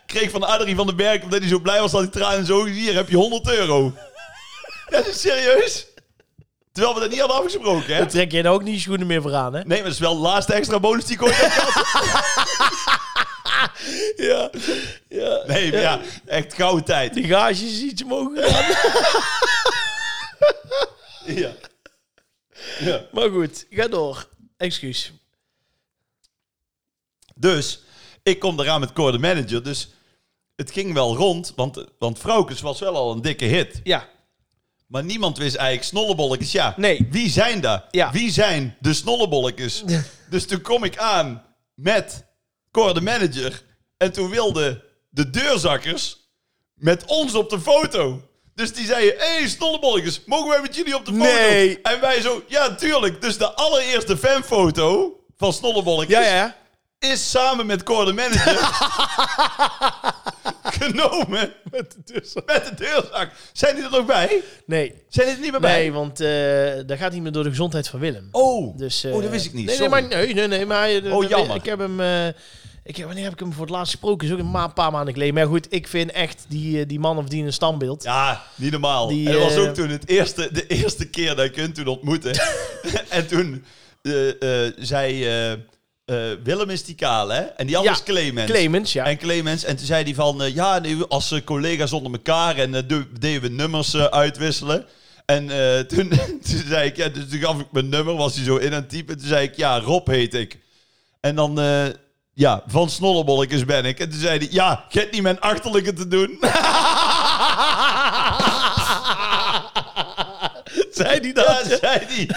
Kreeg van Adrie van den Berg, omdat hij zo blij was dat hij tranen zo hier heb je 100 euro. Dat is serieus. Terwijl we dat niet hadden afgesproken, hè?
Dan trek je er ook niet je schoenen meer voor aan, hè?
Nee, maar dat is wel de laatste extra bonus die ik ooit heb gehad.
ja, ja.
Nee, maar ja, echt gouden tijd.
Die gage is iets mogen gedaan.
Ja. ja.
Maar goed, ga door. Excuus.
Dus ik kom eraan met Core de Manager. Dus het ging wel rond, want, want Frokus was wel al een dikke hit.
Ja,
Maar niemand wist eigenlijk snollebolletjes. Ja,
Nee.
wie zijn daar?
Ja.
Wie zijn de snollebolletjes? dus toen kom ik aan met Cor de manager. En toen wilden de deurzakkers met ons op de foto. Dus die zeiden, hé hey, snollebolletjes, mogen wij met jullie op de foto?
Nee.
En wij zo, ja tuurlijk. Dus de allereerste fanfoto van snollebolletjes
ja, ja. ja.
is samen met Cor de manager genomen
Met de tussen.
met de deurzak. Zijn die er ook bij?
Nee,
Zijn die er niet meer bij?
nee want eh dat gaat niet meer door de gezondheid van Willem.
Oh,
Dus, eh,
oh dat wist ik niet.
Nee, nee,
sorry.
maar, nee, nee, nee, maar eh,
Oh,
dat-
jammer.
Ik heb hem. eh, ik heb, wanneer heb ik hem voor het laatst gesproken? Is ook een, ma- paar maanden geleden. Maar goed, ik vind echt die, eh, die man of die in een standbeeld.
Ja, niet normaal.
Die,
en dat was
eh,
ook toen het eerste, de eerste keer dat ik hun toen ontmoette. en toen eh, eh, zei eh, eh, Willem is die kaal, hè? En die andere
Ja,
is Clemens.
Clemens, ja.
En Clemens, en toen zei hij van, eh, ja, nee, als eh, collega's onder elkaar en eh, de- deden we nummers eh, uitwisselen. En eh, toen, toen zei ik, ja, dus toen gaf ik mijn nummer, was hij zo in aan het typen. Toen zei ik, ja, Rob heet ik. En dan, eh, ja, van Snollebolletjes ben ik. En toen zei hij, ja, je hebt niet mijn achterlijke te doen.
Zei die
Ja, zei hij.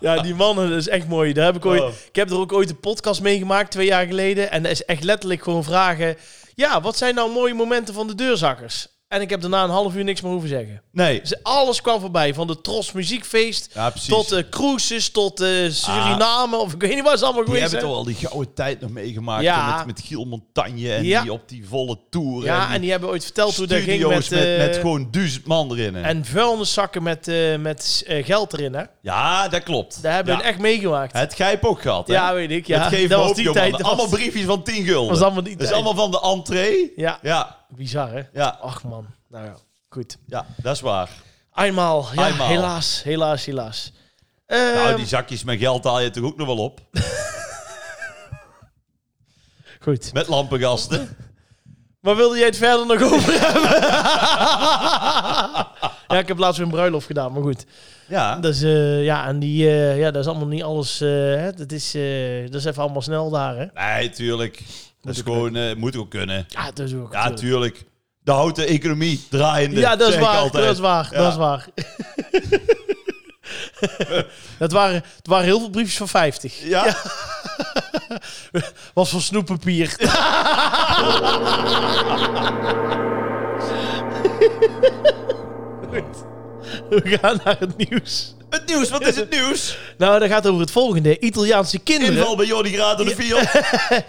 Ja, die mannen, dat is echt mooi. Daar heb ik, ooit,
Oh.
ik heb er ook ooit een podcast meegemaakt, twee jaar geleden. En dat is echt letterlijk gewoon vragen... Ja, wat zijn nou mooie momenten van de deurzakkers? En ik heb daarna een half uur niks meer hoeven zeggen.
Nee.
Dus alles kwam voorbij. Van de Tros Muziekfeest
Ja, precies.
tot eh cruises, tot eh, Suriname. Of ik weet niet waar ze allemaal
Die hebben
geweest zijn.
toch al die gouden tijd nog meegemaakt.
Ja.
Met, met Giel Montagne en
Ja.
die op die volle tour.
Ja, en die hebben ooit verteld hoe dat
eh, studio's
ging met...
met, met,
eh,
gewoon duizend man erin. hè.
en vuilniszakken met, eh, met eh, geld erin, hè?
ja, dat klopt.
Daar hebben we
Ja.
echt meegemaakt.
Het Gijp ook gehad, hè?
Ja, weet ik. Ja.
Het geeft
dat
me
was
hoop,
die
jongen.
tijd. dat
allemaal
was-
briefjes van 10 gulden.
was allemaal die
Dat is
tijd.
allemaal van de entree.
Ja,
Ja,
bizar, hè?
ja,
Ach man, nou ja, goed.
ja, dat is waar.
Eenmaal, ja,
Eenmaal.
helaas, helaas, helaas. Ehm,
nou, die zakjes met geld haal je toch ook nog wel op?
Goed.
Met lampengasten.
Maar wilde jij het verder nog over hebben? ja, ik heb laatst weer een bruiloft gedaan, maar goed.
Ja,
Dat is, eh, ja, en die, eh, ja, dat is allemaal niet alles. eh, hè. dat, is, eh, dat is even allemaal snel daar, hè?
nee, tuurlijk. Dat is
ook
gewoon, eh, moet ook kunnen.
Ja, dat is ook.
Ja,
natuurlijk.
tuurlijk. De houdt de economie draaiende.
Ja, dat is,
zeg ik
waar,
altijd.
dat is waar.
Ja.
Dat is waar. dat waren, het waren heel veel briefjes van 50.
Ja.
Was van snoeppapier. Goed. We gaan naar het nieuws.
Het nieuws, wat is het nieuws?
Nou, dat gaat over het volgende. Italiaanse kinderen.
Inval bij Jordi Graat door de field.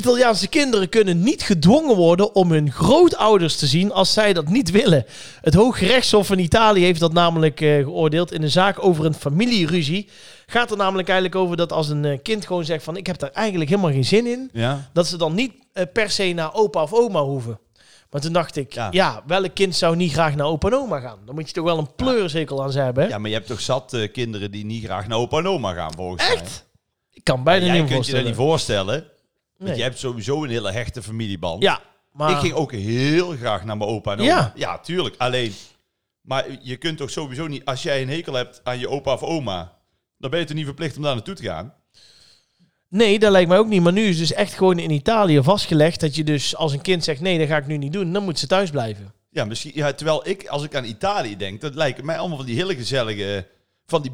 Italiaanse kinderen kunnen niet gedwongen worden om hun grootouders te zien als zij dat niet willen. Het Hooggerechtshof van Italië heeft dat namelijk eh, geoordeeld in een zaak over een familieruzie. Gaat er namelijk eigenlijk over dat als een eh, kind gewoon zegt van ik heb daar eigenlijk helemaal geen zin in,
Ja.
dat ze dan niet eh, per se naar opa of oma hoeven. Maar toen dacht ik, ja.
Ja.
welk kind zou niet graag naar opa en oma gaan? Dan moet je toch wel een pleurzekel aan ze hebben. hè?
ja, maar je hebt toch zat eh, kinderen die niet graag naar opa en oma gaan, volgens mij.
Echt? Ik kan bijna
Jij
niet
kunt je dat
voorstellen.
niet voorstellen, want
Nee.
je hebt sowieso een hele hechte familieband.
Ja, maar...
Ik ging ook heel graag naar mijn opa en oma.
Ja.
tuurlijk. Alleen, maar je kunt toch sowieso niet... Als jij een hekel hebt aan je opa of oma, dan ben je toch niet verplicht om daar naartoe te gaan?
Nee, dat lijkt mij ook niet. Maar nu is dus echt gewoon in Italië vastgelegd dat je dus als een kind zegt nee, dat ga ik nu niet doen, dan moet ze thuis blijven.
Ja, misschien, ja, terwijl ik, als ik aan Italië denk, dat lijken mij allemaal van die hele gezellige... Van die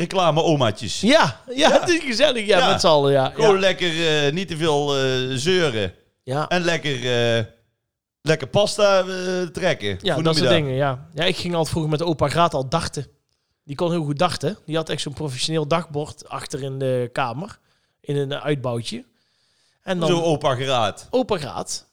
Bertolli-reclame-omaatjes.
Ja, ja, het is gezellig. Ja,
Ja.
met z'n allen. Ja,
Gewoon
ja.
lekker eh, niet te veel eh, zeuren.
ja.
En lekker, eh, lekker pasta eh, trekken.
Ja,
Hoe
dat
noem
soort
je
dingen. Ja. ja, ik ging altijd vroeger met opa Graat al darten. Die kon heel goed darten. Die had echt zo'n professioneel dagbord achter in de kamer. In een uitbouwtje. En dan
Zo opa geraad.
opa Graat.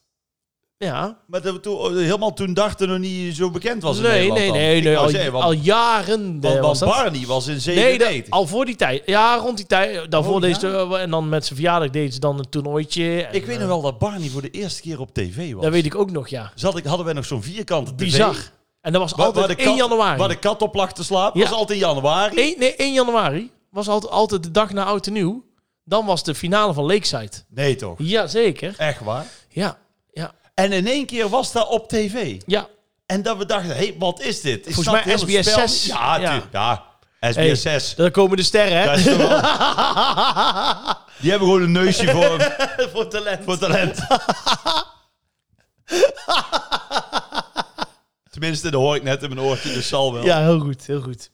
Ja.
Maar dat we toen, eh, helemaal toen dachten nog niet zo bekend was in
nee,
Nederland
nee,
dan.
nee,
Ik
nee.
wou
Al,
zeggen, want,
al jaren eh,
want- want
was dat.
Barney was in
Nee,
97.
dat- al voor die tijd. Ja, rond die tijd. Daarvoor
Oh, ja?
deed ze- eh, en dan met zijn verjaardag deden ze dan een toernooitje. En,
Ik weet nog
eh,
wel dat Barney voor de eerste keer op tv was.
Dat weet ik ook nog, ja.
Zat ik, hadden wij nog zo'n vierkante tv.
Bizar. En dat was
Waar,
altijd
waar de
1
kat,
januari.
Waar de kat op lag te slapen.
Ja.
was altijd in januari.
Eén- nee, 1 januari was altijd, altijd de dag na Oud en Nieuw. Dan was de finale van Lakeside.
Nee toch?
Jazeker.
Echt waar?
Ja, ja,
En in één keer was dat op tv.
ja.
En dat we dachten, hé, hey, wat is dit? Is
Volgens
dat
mij
heel het
SBS6.
spel niet? Ja,
Ja.
tu- ja.
Hey,
SBS 6.
Daar komen de sterren, hè?
Die hebben gewoon een neusje voor,
Voor talent.
voor talent. Tenminste, dat hoor ik net in mijn oortje, dus zal wel.
Ja, heel goed, heel goed.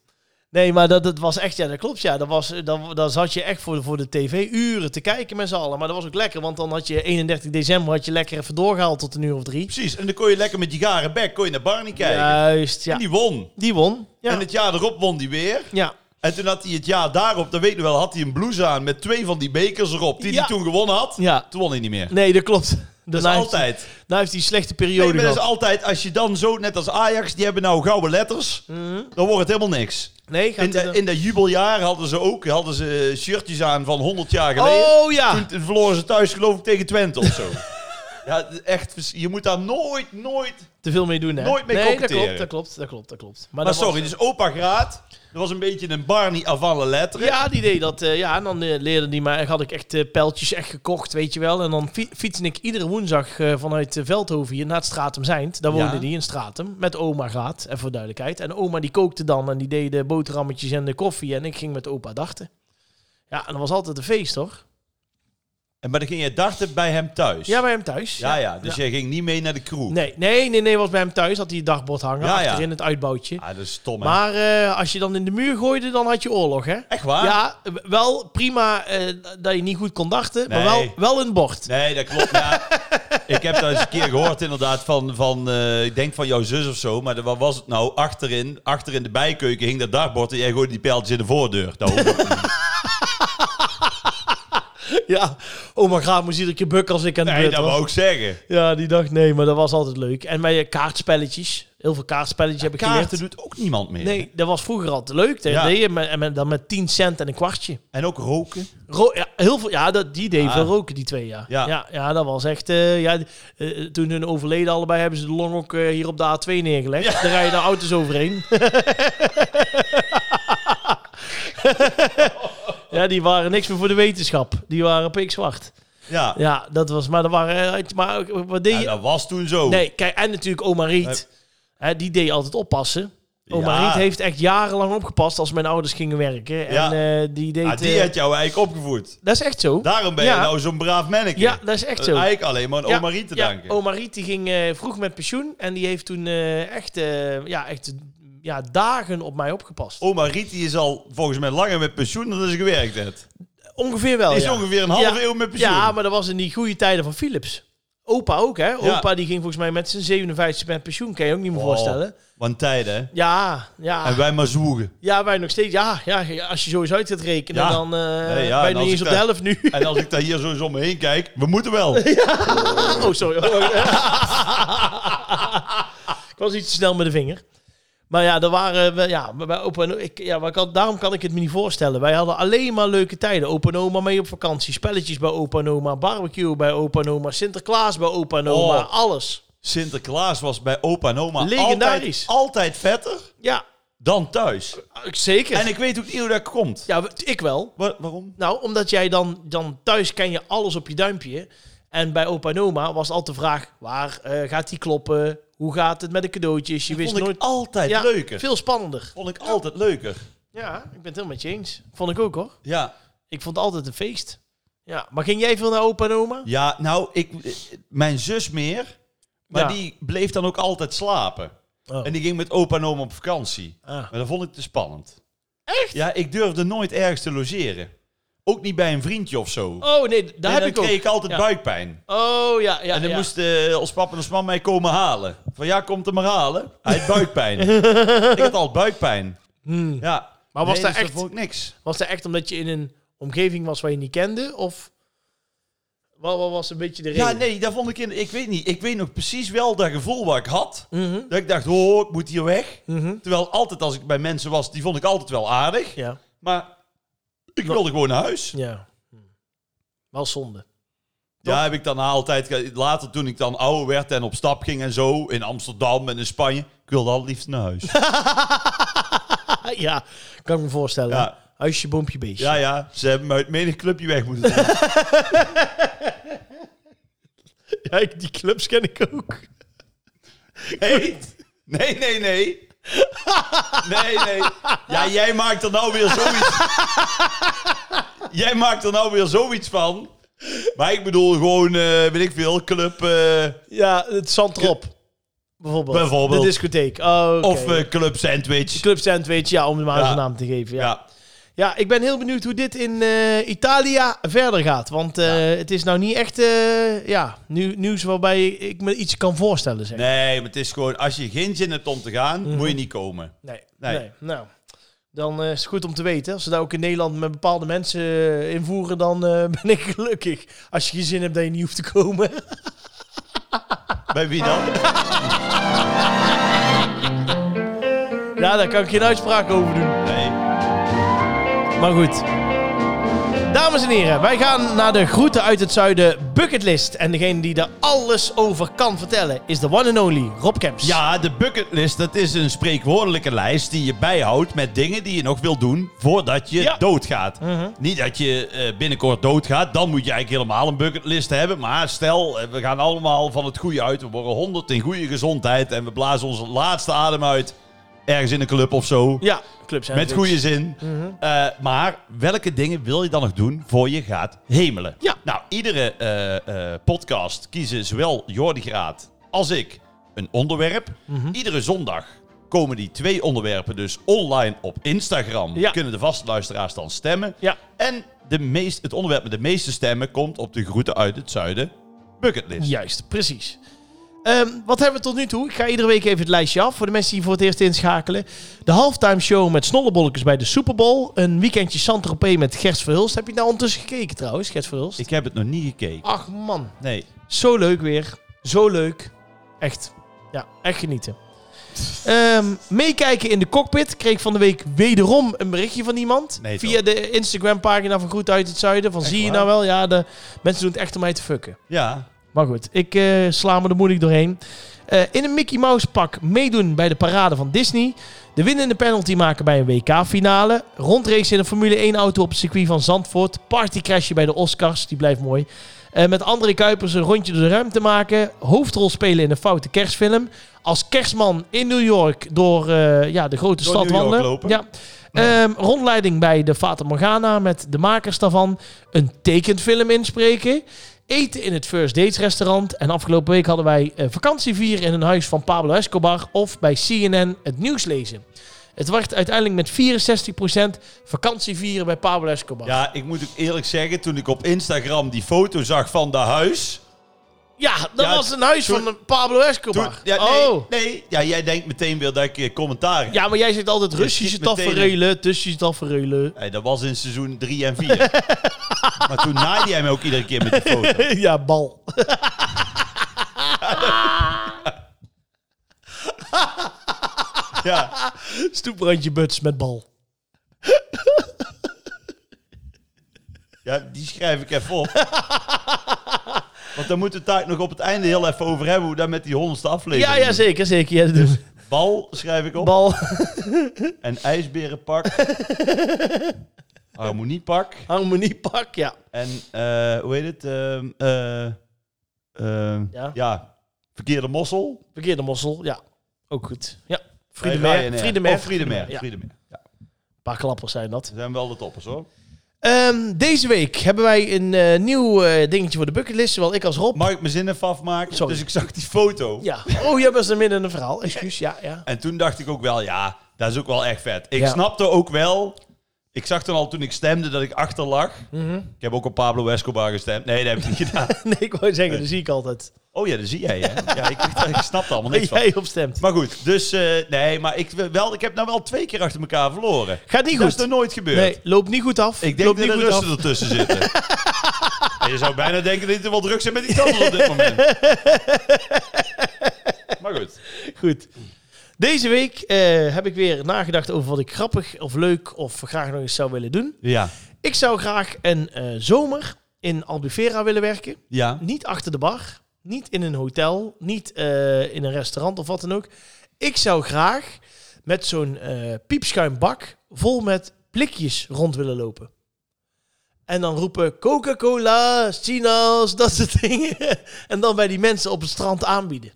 Nee, maar dat, dat was echt, ja, dat klopt. Ja, dat was, eh, dan, dan zat je echt voor de, voor de tv uren te kijken met z'n allen. Maar dat was ook lekker, want dan had je 31 december had je lekker even doorgehaald tot een uur of drie.
Precies, en dan kon je lekker met je garen bek kon je naar Barney kijken.
Juist,
En
ja.
die won.
Die won. Ja.
En het jaar erop won die weer.
ja.
En toen had hij het jaar daarop, dat weet ik nog wel, had hij een blouse aan met twee van die bekers erop. Die
Ja.
hij toen gewonnen had.
Ja.
Toen won hij niet meer.
Nee, dat klopt.
Dat is
Daarna heeft-
altijd.
Nou heeft hij een slechte
Nee,
periode
maar dat is
gehad.
altijd, als je dan zo, net als Ajax, die hebben nou gouden letters,
Mhm.
dan wordt het helemaal niks.
Nee, gaat
In,
hij
de,
dan-
in dat jubeljaar hadden ze ook hadden ze shirtjes aan van 100 jaar geleden.
Oh ja.
Toen verloren ze thuis geloof ik tegen Twente of zo. ja, echt, vers- je moet daar nooit, nooit...
Te veel mee doen, hè?
Nooit mee
nee, dat
koketteren.
klopt, dat klopt, dat klopt, dat klopt. Maar,
Maar
dat was-
sorry, dus opa Graat, dat was een beetje een Barney avant la lettre.
Ja, die deed dat. eh, ja, en dan eh, leerde die maar. Had ik echt eh, pijltjes echt gekocht, weet je wel. En dan fi fietste ik iedere woensdag eh, vanuit eh, Veldhoven hier naar het Stratum Zijnd. Daar
Ja.
woonde die in Stratum. Met oma gaat, en voor duidelijkheid. En oma die kookte dan en die deed de boterhammetjes en de koffie. En ik ging met opa dachten. Ja, en dat was altijd een feest, hoor.
En, maar dan ging je darten bij hem thuis.
Ja, bij hem thuis.
ja, ja, dus jij ging niet mee naar de crew.
Nee, nee, nee, nee, was bij hem thuis. Had hij het dagbord hangen,
Ja, ja.
achterin het uitbouwtje.
Ah, dat is stom. hè.
maar eh, als je dan in de muur gooide, dan had je oorlog, hè?
Echt waar?
Ja, wel prima eh, dat je niet goed kon dachten, maar wel,
Nee.
wel een bord.
Nee, dat klopt. Ja. ik heb dat eens een keer gehoord inderdaad van, van eh, ik denk van jouw zus of zo. Maar de- wat was het nou? Achterin, achter in de bijkeuken hing dat dagbord en jij gooide die pijltjes in de voordeur. Nou,
Ja, oma Graaf moest iedere keer bukken als ik aan de
nee,
beurt
dat
was.
wou ik zeggen.
Ja, die dacht nee, maar dat was altijd leuk. En bij eh, kaartspelletjes, heel veel kaartspelletjes heb ik
Kaarten
geleerd.
doet ook niemand meer.
Nee, dat was vroeger altijd leuk. Dat
Ja.
deed je met, en met- dan met 10 cent en een kwartje.
En ook roken.
Ro- ja, heel veel, ja dat, die deed
Ah.
veel roken, die twee jaar.
Ja.
Ja, ja, dat was echt... eh, ja, eh, toen hun overleden allebei hebben ze de long ook eh, hier op de A2 neergelegd. Daar rijden de auto's overheen. ja, die waren niks meer voor de wetenschap. Die waren pikzwart.
Ja,
Ja, dat was. Maar dat waren. eh, Maar ook, wat deed
Ja,
je?
dat was toen zo.
nee, kijk, en natuurlijk Oma Riet. Hè, die deed altijd oppassen. Oma
Ja.
Riet heeft echt jarenlang opgepast als mijn ouders gingen werken. En
Ja.
eh, die deed.
Ah, die
eh,
had jou eigenlijk opgevoed.
dat is echt zo.
Daarom ben
Ja.
je nou zo'n braaf manneke.
ja, dat is echt zo.
Eigenlijk alleen maar aan
Ja,
oma Riet te
ja,
danken.
Oma Riet die ging eh, vroeg met pensioen. En die heeft toen eh, echt, eh, ja, echt ja, dagen op mij opgepast.
Oma Riet die is al volgens mij langer met pensioen dan dat ze gewerkt heeft.
Ongeveer wel.
Die is
Oh, ja.
ongeveer een half
Ja.
eeuw met pensioen.
Ja, maar dat was in die goede tijden van Philips. Opa ook, hè? Opa die ging volgens mij met zijn 57 met pensioen. Kan je ook niet meer
Oh,
voorstellen.
Want tijden, hè?
Ja, ja.
En wij maar zoegen.
Ja, wij nog steeds. Ja, ja als je zo eens uit gaat rekenen,
Ja.
dan eh
Nee, ja,
ben
en als
je niet
ik
eens op de
daar-
helft nu.
En als ik daar hier zo eens om me heen kijk, we moeten wel.
Oh, sorry. ik was iets te snel met de vinger. Maar ja, daar waren we, ja, bij opa en- ik, ja, maar ik had- daarom kan ik het me niet voorstellen. Wij hadden alleen maar leuke tijden. Opa en oma mee op vakantie, spelletjes bij opa en oma, barbecue bij opa en oma, Sinterklaas bij opa en oma,
Oh.
alles.
Sinterklaas was bij opa en oma
Legendarisch.
altijd, altijd vetter
Ja,
dan thuis.
zeker.
En ik weet ook niet hoe dat komt.
Ja, we- ik wel.
Wa- waarom?
Nou, omdat jij dan, dan thuis ken je alles op je duimpje. En bij opa en oma was altijd de vraag, waar eh, gaat die kloppen? Hoe gaat het met de cadeautjes? Je
Dat
wist
vond ik
nooit...
altijd
Ja,
leuker.
Veel spannender.
Vond ik altijd leuker.
Ja, ik ben het helemaal met je eens. Vond ik ook hoor.
Ja.
Ik vond het altijd een feest. Ja, maar ging jij veel naar opa en oma?
Ja, nou, ik, mijn zus meer. Maar
Ja.
die bleef dan ook altijd slapen.
Oh.
En die ging met opa en oma op vakantie.
Ah.
Maar dat vond ik te spannend. Echt? Ja, ik durfde nooit ergens te logeren. Ook niet bij een vriendje of zo.
Oh nee, daar
En
heb
dan
ik ook.
kreeg ik altijd
Ja.
buikpijn.
Oh ja, ja.
En dan
ja.
moest eh, ons papa en ons mama mij komen halen. Van ja, komt hem maar halen. Hij had buikpijn. ik had al buikpijn.
Hmm.
Ja.
Maar was
Nee,
daar
dus
echt-
vond ik niks.
Was dat echt omdat je in een omgeving was waar je niet kende? Of wat, wat was een beetje de reden?
Ja, nee, dat vond ik in... Ik weet niet. Ik weet nog precies wel dat gevoel wat ik had.
Mhm,
Dat ik dacht, oh, ik moet hier weg.
mhm.
Terwijl altijd als ik bij mensen was, die vond ik altijd wel aardig.
Ja,
Maar ik wilde gewoon naar huis.
ja. Hm. Wel zonde.
Ja, heb ik dan altijd... ge- Later toen ik dan ouder werd en op stap ging en zo. In Amsterdam en in Spanje. Ik wilde al liefst naar huis.
ja, kan ik me voorstellen.
Ja.
Huisje, boompje, beestje.
Ja, ja. Ze hebben me uit menig clubje weg moeten doen.
Ja, ik- die clubs ken ik ook.
Nee. Nee, nee, nee. Nee, nee. Ja, jij maakt er nou weer zoiets... Jij maakt er nou weer zoiets van. Maar ik bedoel gewoon, eh, weet ik veel, club... eh,
Ja, het Zandrop. Bijvoorbeeld.
Bijvoorbeeld.
De discotheek. Oh, oké.
Of eh, club sandwich.
Club Sandwich, ja, om hem maar eens
Ja.
een naam te geven. Ja. Ja.
Ja.
ik ben heel benieuwd hoe dit in eh, Italië verder gaat. Want eh, het is nou niet echt eh, ja, nieuw, nieuws waarbij ik me iets kan voorstellen. Zeg.
Nee, maar het is gewoon, als je geen zin hebt om te gaan,
Mhm.
moet je niet komen.
Nee, nee.
Nee.
Nou, dan eh, is het goed om te weten. Als ze daar ook in Nederland met bepaalde mensen eh, invoeren, dan eh, ben ik gelukkig. Als je geen zin hebt dat je niet hoeft te komen.
Bij wie dan?
ja, daar kan ik geen uitspraak over doen.
Nee.
Maar goed. Dames en heren, wij gaan naar de groeten uit het zuiden bucketlist. En degene die er alles over kan vertellen is de one and only Rob Kemps.
Ja, de bucketlist, dat is een spreekwoordelijke lijst die je bijhoudt met dingen die je nog wil doen voordat je
Ja.
doodgaat. Niet dat je eh, binnenkort doodgaat, dan moet je eigenlijk helemaal een bucketlist hebben. Maar stel, eh, we gaan allemaal van het goede uit. We worden 100 in goede gezondheid en we blazen onze laatste adem uit ergens in een club of zo.
Ja, clubs en dus- Mhm.
Met
clubs.
goede zin. Eh, maar welke dingen wil je dan nog doen voor je gaat hemelen?
Ja.
Nou, iedere eh, eh, podcast kiezen zowel Jordi Graat als ik een onderwerp.
Mhm.
Iedere zondag komen die twee onderwerpen dus online op Instagram.
Ja.
Kunnen de vaste luisteraars dan stemmen.
Ja.
En de meest, het onderwerp met de meeste stemmen komt op de groeten uit het zuiden bucketlist.
Juist, precies. Ehm, wat hebben we tot nu toe? Ik ga iedere week even het lijstje af voor de mensen die voor het eerst inschakelen. De halftime show met snollebolletjes bij de Super Bowl. Een weekendje Saint-Tropez met Gers Verhulst. Heb je nou ondertussen gekeken trouwens, Gers Verhulst?
Ik heb het nog niet gekeken.
Ach man,
Nee.
zo leuk weer. Zo leuk. Echt. Ja, echt genieten. Ehm, meekijken in de cockpit. Kreeg van de week wederom een berichtje van iemand.
Nee, toch?
via de Instagram pagina van Groet uit het Zuiden. Van
Echt
zie je
waar?
nou wel? Ja, de mensen doen het echt om mij te fucken.
Ja.
Maar goed, ik eh, sla me er moeilijk doorheen. Eh, in een Mickey Mouse pak meedoen bij de parade van Disney. De winnende penalty maken bij een WK-finale. Rondrace in een Formule 1-auto op het circuit van Zandvoort. Partycrashje bij de Oscars, die blijft mooi. Eh, met André Kuipers een rondje door de ruimte maken. Hoofdrol spelen in een foute kerstfilm. Als kerstman in New York door eh, ja, de grote
Door
stad
New York
wandelen.
lopen.
Ja. Ehm, rondleiding bij de Fata Morgana met de makers daarvan. Een tekenfilm inspreken. Eten in het First Dates restaurant. En afgelopen week hadden wij eh, vakantie vieren in een huis van Pablo Escobar. Of bij CNN het nieuws lezen. Het werd uiteindelijk met 64% vakantie vieren bij Pablo Escobar. Ja,
ja, ik moet ook eerlijk zeggen, toen ik op Instagram die foto zag van dat huis...
dat
Ja,
was een huis
toen-
van Pablo Escobar.
Toen- ja, nee,
oh.
nee, ja, jij denkt meteen weer dat ik eh, commentaar heb.
Ja, maar jij zegt altijd Russische
schiet meteen in.
tafereelen, Tussische tafereelen.
Hey, dat was in seizoen 3 en 4. maar toen naaide jij me ook iedere keer met die foto.
ja, bal.
Ja.
Stoeprandje buts met bal.
ja, die schrijf ik even op. Want dan moeten we het daar nog op het einde heel even over hebben... hoe dat met die honderdste aflevering
Ja, ja,
is.
zeker, zeker. Ja, dat doen we.
Bal schrijf ik op.
Bal,
En ijsberenpak. harmoniepak.
harmoniepak, ja.
En eh, hoe heet het? Ehm, eh, ehm,
Ja.
ja. verkeerde mossel.
Verkeerde mossel, ja. Ook goed. Ja.
Bij
Friedemer.
Ryanair.
Friedemer.
Of Friedemer.
Ja, een
Friedemer. Ja.
paar klappers zijn dat.
Ze zijn wel de toppers hoor.
Ehm, deze week hebben wij een eh, nieuw eh, dingetje voor de bucketlist. Zowel ik als Rob.
Mag ik mijn zin even afmaken?
Sorry.
Dus ik zag die foto.
Ja. Oh, jij was er midden in een verhaal. Excuus, ja, ja.
En toen dacht ik ook wel, ja, dat is ook wel echt vet. Ik
Ja.
snapte ook wel. Ik zag toen al toen ik stemde dat ik achterlag.
Mhm.
Ik heb ook op Pablo Escobar gestemd. Nee, dat heb ik niet gedaan.
Nee, ik wou zeggen, dat zie ik altijd.
Oh ja, dat zie jij. Hè? Ja, ik, ik snapte er allemaal
Dat
niks van.
jij opstemt.
Maar goed, dus eh, nee, maar ik, wil wel, ik heb nou wel twee keer achter elkaar verloren.
Gaat niet
Dat is
goed.
nog nooit gebeurd.
Nee, loopt niet goed af.
Ik denk
loopt
dat
niet
de
goed af.
Russen ertussen zitten. en je zou bijna denken dat er wel druk zijn met die tanden op dit moment. maar goed.
Goed. Deze week eh, heb ik weer nagedacht over wat ik grappig of leuk of graag nog eens zou willen doen.
Ja.
Ik zou graag een eh, zomer in Albufeira willen werken.
Ja.
Niet achter de bar, niet in een hotel, niet eh, in een restaurant of wat dan ook. Ik zou graag met zo'n eh piepschuimbak vol met blikjes rond willen lopen. En dan roepen Coca-Cola, Sinaas, dat soort dingen. En dan bij die mensen op het strand aanbieden.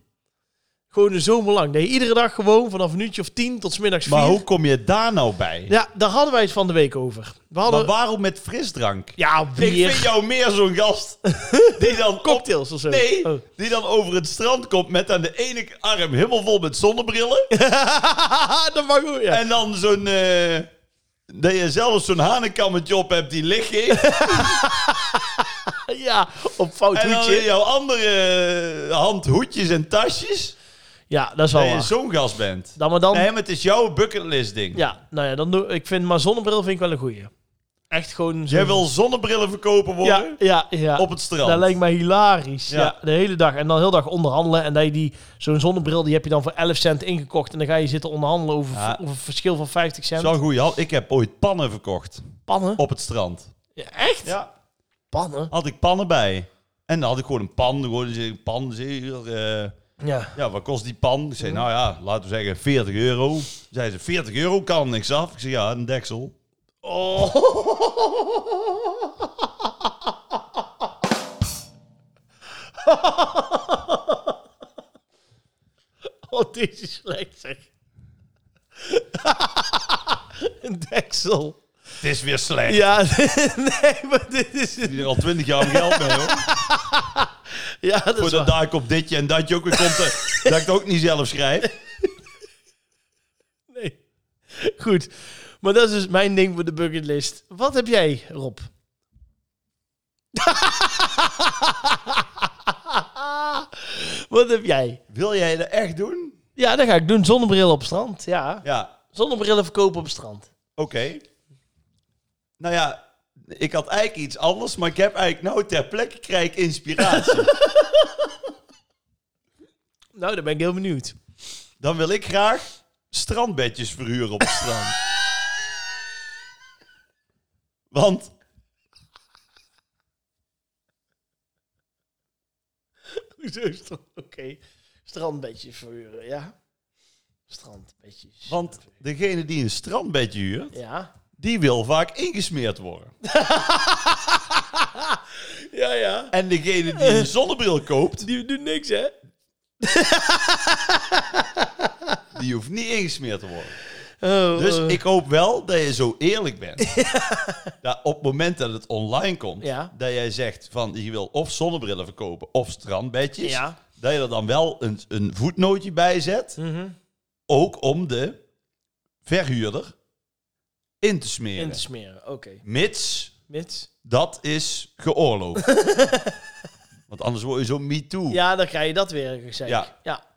Gewoon de zomer lang. Nee, iedere dag gewoon vanaf een uurtje of tien tot 's middags vier.
Maar hoe kom je daar nou bij?
Ja, daar hadden wij het van de week over. We hadden...
Maar waarom met frisdrank?
Ja,
Ik vind
bier,
jou meer zo'n gast die dan op-
cocktails of zo.
Nee,
Oh.
die dan over het strand komt met aan de ene arm helemaal vol met zonnebrillen.
dat mag goed, ja.
En dan zo'n... eh, dat je zelfs zo'n hanenkammetje op hebt die licht geeft.
ja, op fout
en dan
hoedje.
in jouw andere hand hoedjes en tasjes.
Ja, dat is wel
Dat je
waar.
zo'n gast bent.
Dan maar dan...
Nee, maar het is jouw bucketlist ding.
Ja, nou ja, dan doe, ik vind... Maar zonnebril vind ik wel een goeie. Echt gewoon... zo-
Jij wil zonnebrillen verkopen worden
Ja, ja, ja.
op het strand.
Dat lijkt mij hilarisch. Ja.
Ja.
de hele dag. En dan heel dag onderhandelen. En dat je die, zo'n zonnebril, die heb je dan voor 11 cent ingekocht. En dan ga je zitten onderhandelen over,
Ja.
over een verschil van 50 cent.
Dat is wel een goeie hand. Ik heb ooit pannen verkocht
Pannen?
op het strand.
Ja, echt?
Ja.
Pannen?
had ik pannen bij. En dan had ik gewoon een pan. Gewoon een pan zeer, eh,
Ja.
ja, wat kost die pan? Ik zei, nou ja, laten we zeggen 40 euro. Zei ze, 40 euro kan niks af. Ik zei, ja, een deksel.
Oh. Oh, deze is slecht zeg. Een deksel.
Het is weer slecht.
Ja, nee, maar dit is...
Die er al 20 jaar mijn geld mee, hoor.
Ja, dat is
Voordat
waar.
daar ik op ditje en datje ook weer komt. eh, dat ik het ook niet zelf schrijf.
Nee. Goed. Maar dat is dus mijn ding voor de bucketlist. Wat heb jij, Rob? Wat heb jij?
Wil jij dat echt doen?
Ja, dat ga ik doen. Zonnebril op strand. Ja.
Ja,
Zonnebrillen verkopen op strand.
oké. Nou ja, ik had eigenlijk iets anders. Maar ik heb eigenlijk nou ter plekke krijg ik inspiratie.
Nou, daar ben ik heel benieuwd.
Dan wil ik graag strandbedjes verhuren op het strand. Want
Hoezo strand? Oké. Strandbedjes verhuren, ja. Strandbedjes.
Want degene die een strandbedje huurt,
Ja.
die wil vaak ingesmeerd worden.
Ja, ja.
En degene die een zonnebril koopt,
Die doen niks, hè?
die hoeft niet ingesmeerd te worden.
Oh,
Dus
eh.
ik hoop wel dat je zo eerlijk bent. Dat op het moment dat het online komt,
Ja.
dat jij zegt van je wil of zonnebrillen verkopen of strandbedjes.
Ja.
Dat je er dan wel een, een voetnootje bij zet.
Mhm.
Ook om de verhuurder in te smeren.
In te smeren, oké.
Mits
Mits.
dat is geoorloofd. Want anders word je zo me too.
Ja, dan krijg je dat weer gezegd. Ja.
Ja.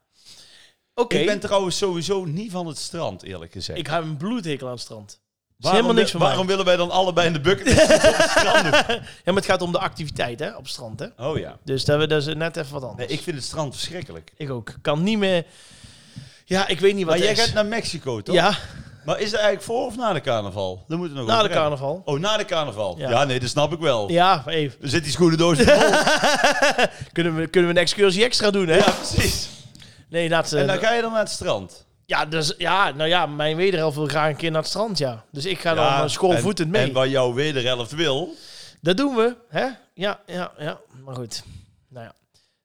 Oké,
Ik ben trouwens sowieso niet van het strand, eerlijk gezegd.
ik heb een bloedhekel aan het strand. Het is
waarom
helemaal niks
wi-
van mij.
waarom willen wij dan allebei in de bucket op het strand doen?
Ja, maar het gaat om de activiteit hè, op het strand. Hè?
Oh ja.
Dus dat, we, dat is net even wat
Nee,
anders.
ik
ik...
vind het strand verschrikkelijk.
ook. Kan niet meer... Ja, ik weet niet wat
Maar jij
er is.
gaat naar Mexico, toch?
Ja,
Maar is dat eigenlijk voor of na de carnaval? Dan moeten we nog
na de
over hebben.
carnaval.
Oh, na de carnaval.
Ja.
Ja, nee, dat snap ik wel.
Ja, even.
Er zit die schoenendoos vol.
Kunnen we, kunnen we een excursie extra doen, hè?
ja, precies.
Nee, laat ze...
En dan ga je dan naar het strand.
ja, dus, ja, nou ja, mijn wederhelft wil graag een keer naar het strand, ja. Dus ik ga
Ja,
dan eh, schoolvoetend
en-
mee.
En wat jouw wederhelft wil,
Dat doen we, hè? Ja, ja, ja. Maar goed. Nou ja.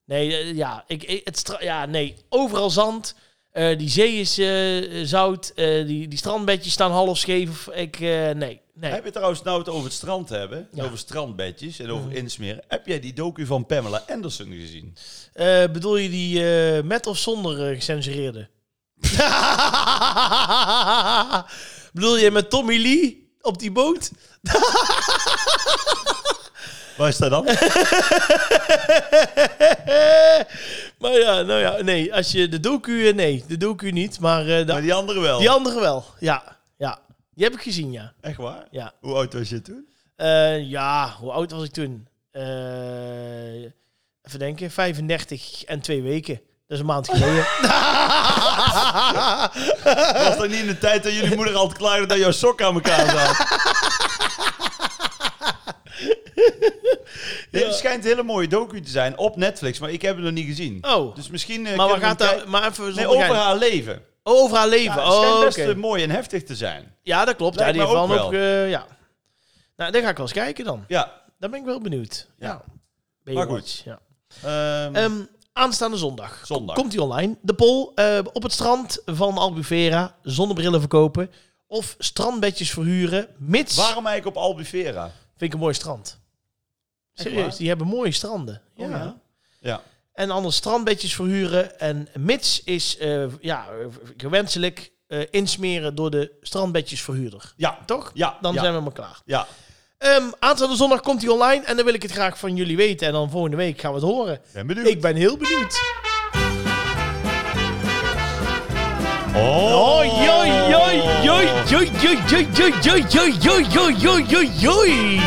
Nee, eh, ja. Ik, ik- het stra- ja, nee. Overal zand. Eh, die zee is eh, zout. Eh, die, die strandbedjes staan half scheef. Ik, eh, nee, nee.
Heb je trouwens nou het over het strand hebben, en
Ja.
over strandbedjes en over insmeren. Heb jij die docu van Pamela Anderson gezien?
Eh, bedoel je die eh, met of zonder eh, gecensureerde? bedoel je met Tommy Lee op die boot?
Waar is dat dan?
maar ja, nou ja, nee. Als je de docu, eh, nee, de docu niet. Maar eh, de
maar die andere wel.
Die andere wel, ja. ja. Die heb ik gezien, ja.
Echt waar?
Ja,
Hoe oud was je toen?
Eh, ja hoe oud was ik toen? Eh, even denken, 35 en twee weken. Dat is een maand geleden.
Was dat niet in de tijd dat jullie moeder altijd klaagde dat jouw sokken aan elkaar zaten? Nee, Het schijnt een hele mooie docu te zijn op Netflix, maar ik heb het nog niet gezien.
Oh,
Dus misschien... eh,
maar, waar
kunnen we
gaat
hem
daar,
kijken.
maar even
Nee,
zonder
over
gein.
haar leven.
Oh, over haar leven.
Ja, het
oh,
schijnt best
oké.
eh, mooi en heftig te zijn.
ja dat klopt. Ja,
Lijkt
die
me
heeft wel
ook
een opge- ja. Nou, daar ga ik wel eens kijken dan.
Ja,
Daar ben ik wel benieuwd. Ja.
Ja.
Ben
Maar
je
goed.
wat, Ja.
ehm,
Ehm, aanstaande zondag.
zondag.
Komt die online. De poll eh, op het strand van Albufeira. Zonnebrillen verkopen. Of strandbedjes verhuren. Mits.
Waarom eigenlijk op Albufeira?
Vind ik een mooi strand.
Echt
Serieus,
waar?
die hebben mooie stranden. Ja.
Oh, ja. Ja.
En anders strandbedjes verhuren. En mits is eh, ja, eh, gewenselijk eh, insmeren door de strandbedjesverhuurder.
Ja.
Toch?
Ja.
Dan
ja.
zijn we maar klaar.
Ja.
Ehm, aanstaande zondag komt hij online en dan wil ik het graag van jullie weten. En dan volgende week gaan we het horen.
Ben benieuwd.
Ik ben heel benieuwd.
Oh,
Oi, joi, joi, joi, joi, joi, joi, joi, joi, joi, joi, joi, joi, joi, joi.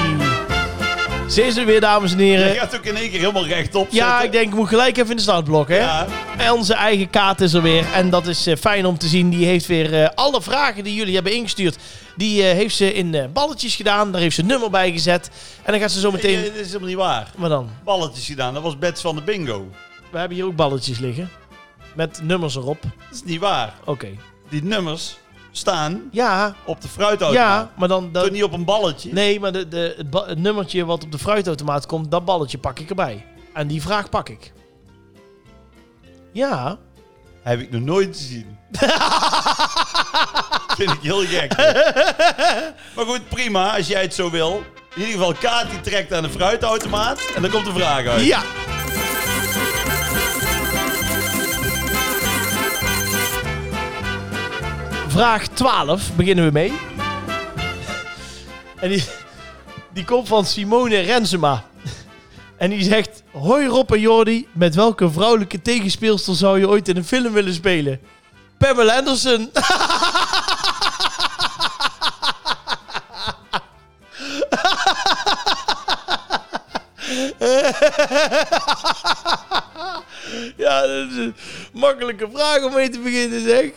Ze is er weer, dames en
Je
heren.
gaat ook in één keer helemaal rechtop zitten.
Ja, ik denk, ik moet gelijk even in de startblok, hè?
Ja.
En onze eigen Kaat is er weer. En dat is eh, fijn om te zien. Die heeft weer eh, alle vragen die jullie hebben ingestuurd. Die eh, heeft ze in eh, balletjes gedaan. Daar heeft ze een nummer bij gezet. En dan gaat ze zo
Eh,
meteen...
Dat is helemaal niet waar.
Wat dan?
Balletjes gedaan, dat was Bets van de Bingo.
We hebben hier ook balletjes liggen. Met nummers erop.
Dat is niet waar.
Oké.
Die nummers staan
Ja,
op de fruitautomaat.
ja, maar dan...
Toch
dan
niet op een balletje?
nee, maar de, de, het, ba- het nummertje wat op de fruitautomaat komt, dat balletje pak ik erbij. En die vraag pak ik. Ja.
Heb ik nog nooit gezien. Vind ik heel gek. maar goed, prima, als jij het zo wil. In ieder geval, Kaat die trekt aan de fruitautomaat. En dan komt de vraag uit.
Ja. Vraag 12 beginnen we mee. En die, die komt van Simone Rensema. En die zegt: Hoi Rob en Jordi, met welke vrouwelijke tegenspeelster zou je ooit in een film willen spelen? Pamela Anderson. Ja, dat is een makkelijke vraag om mee te beginnen, zeg.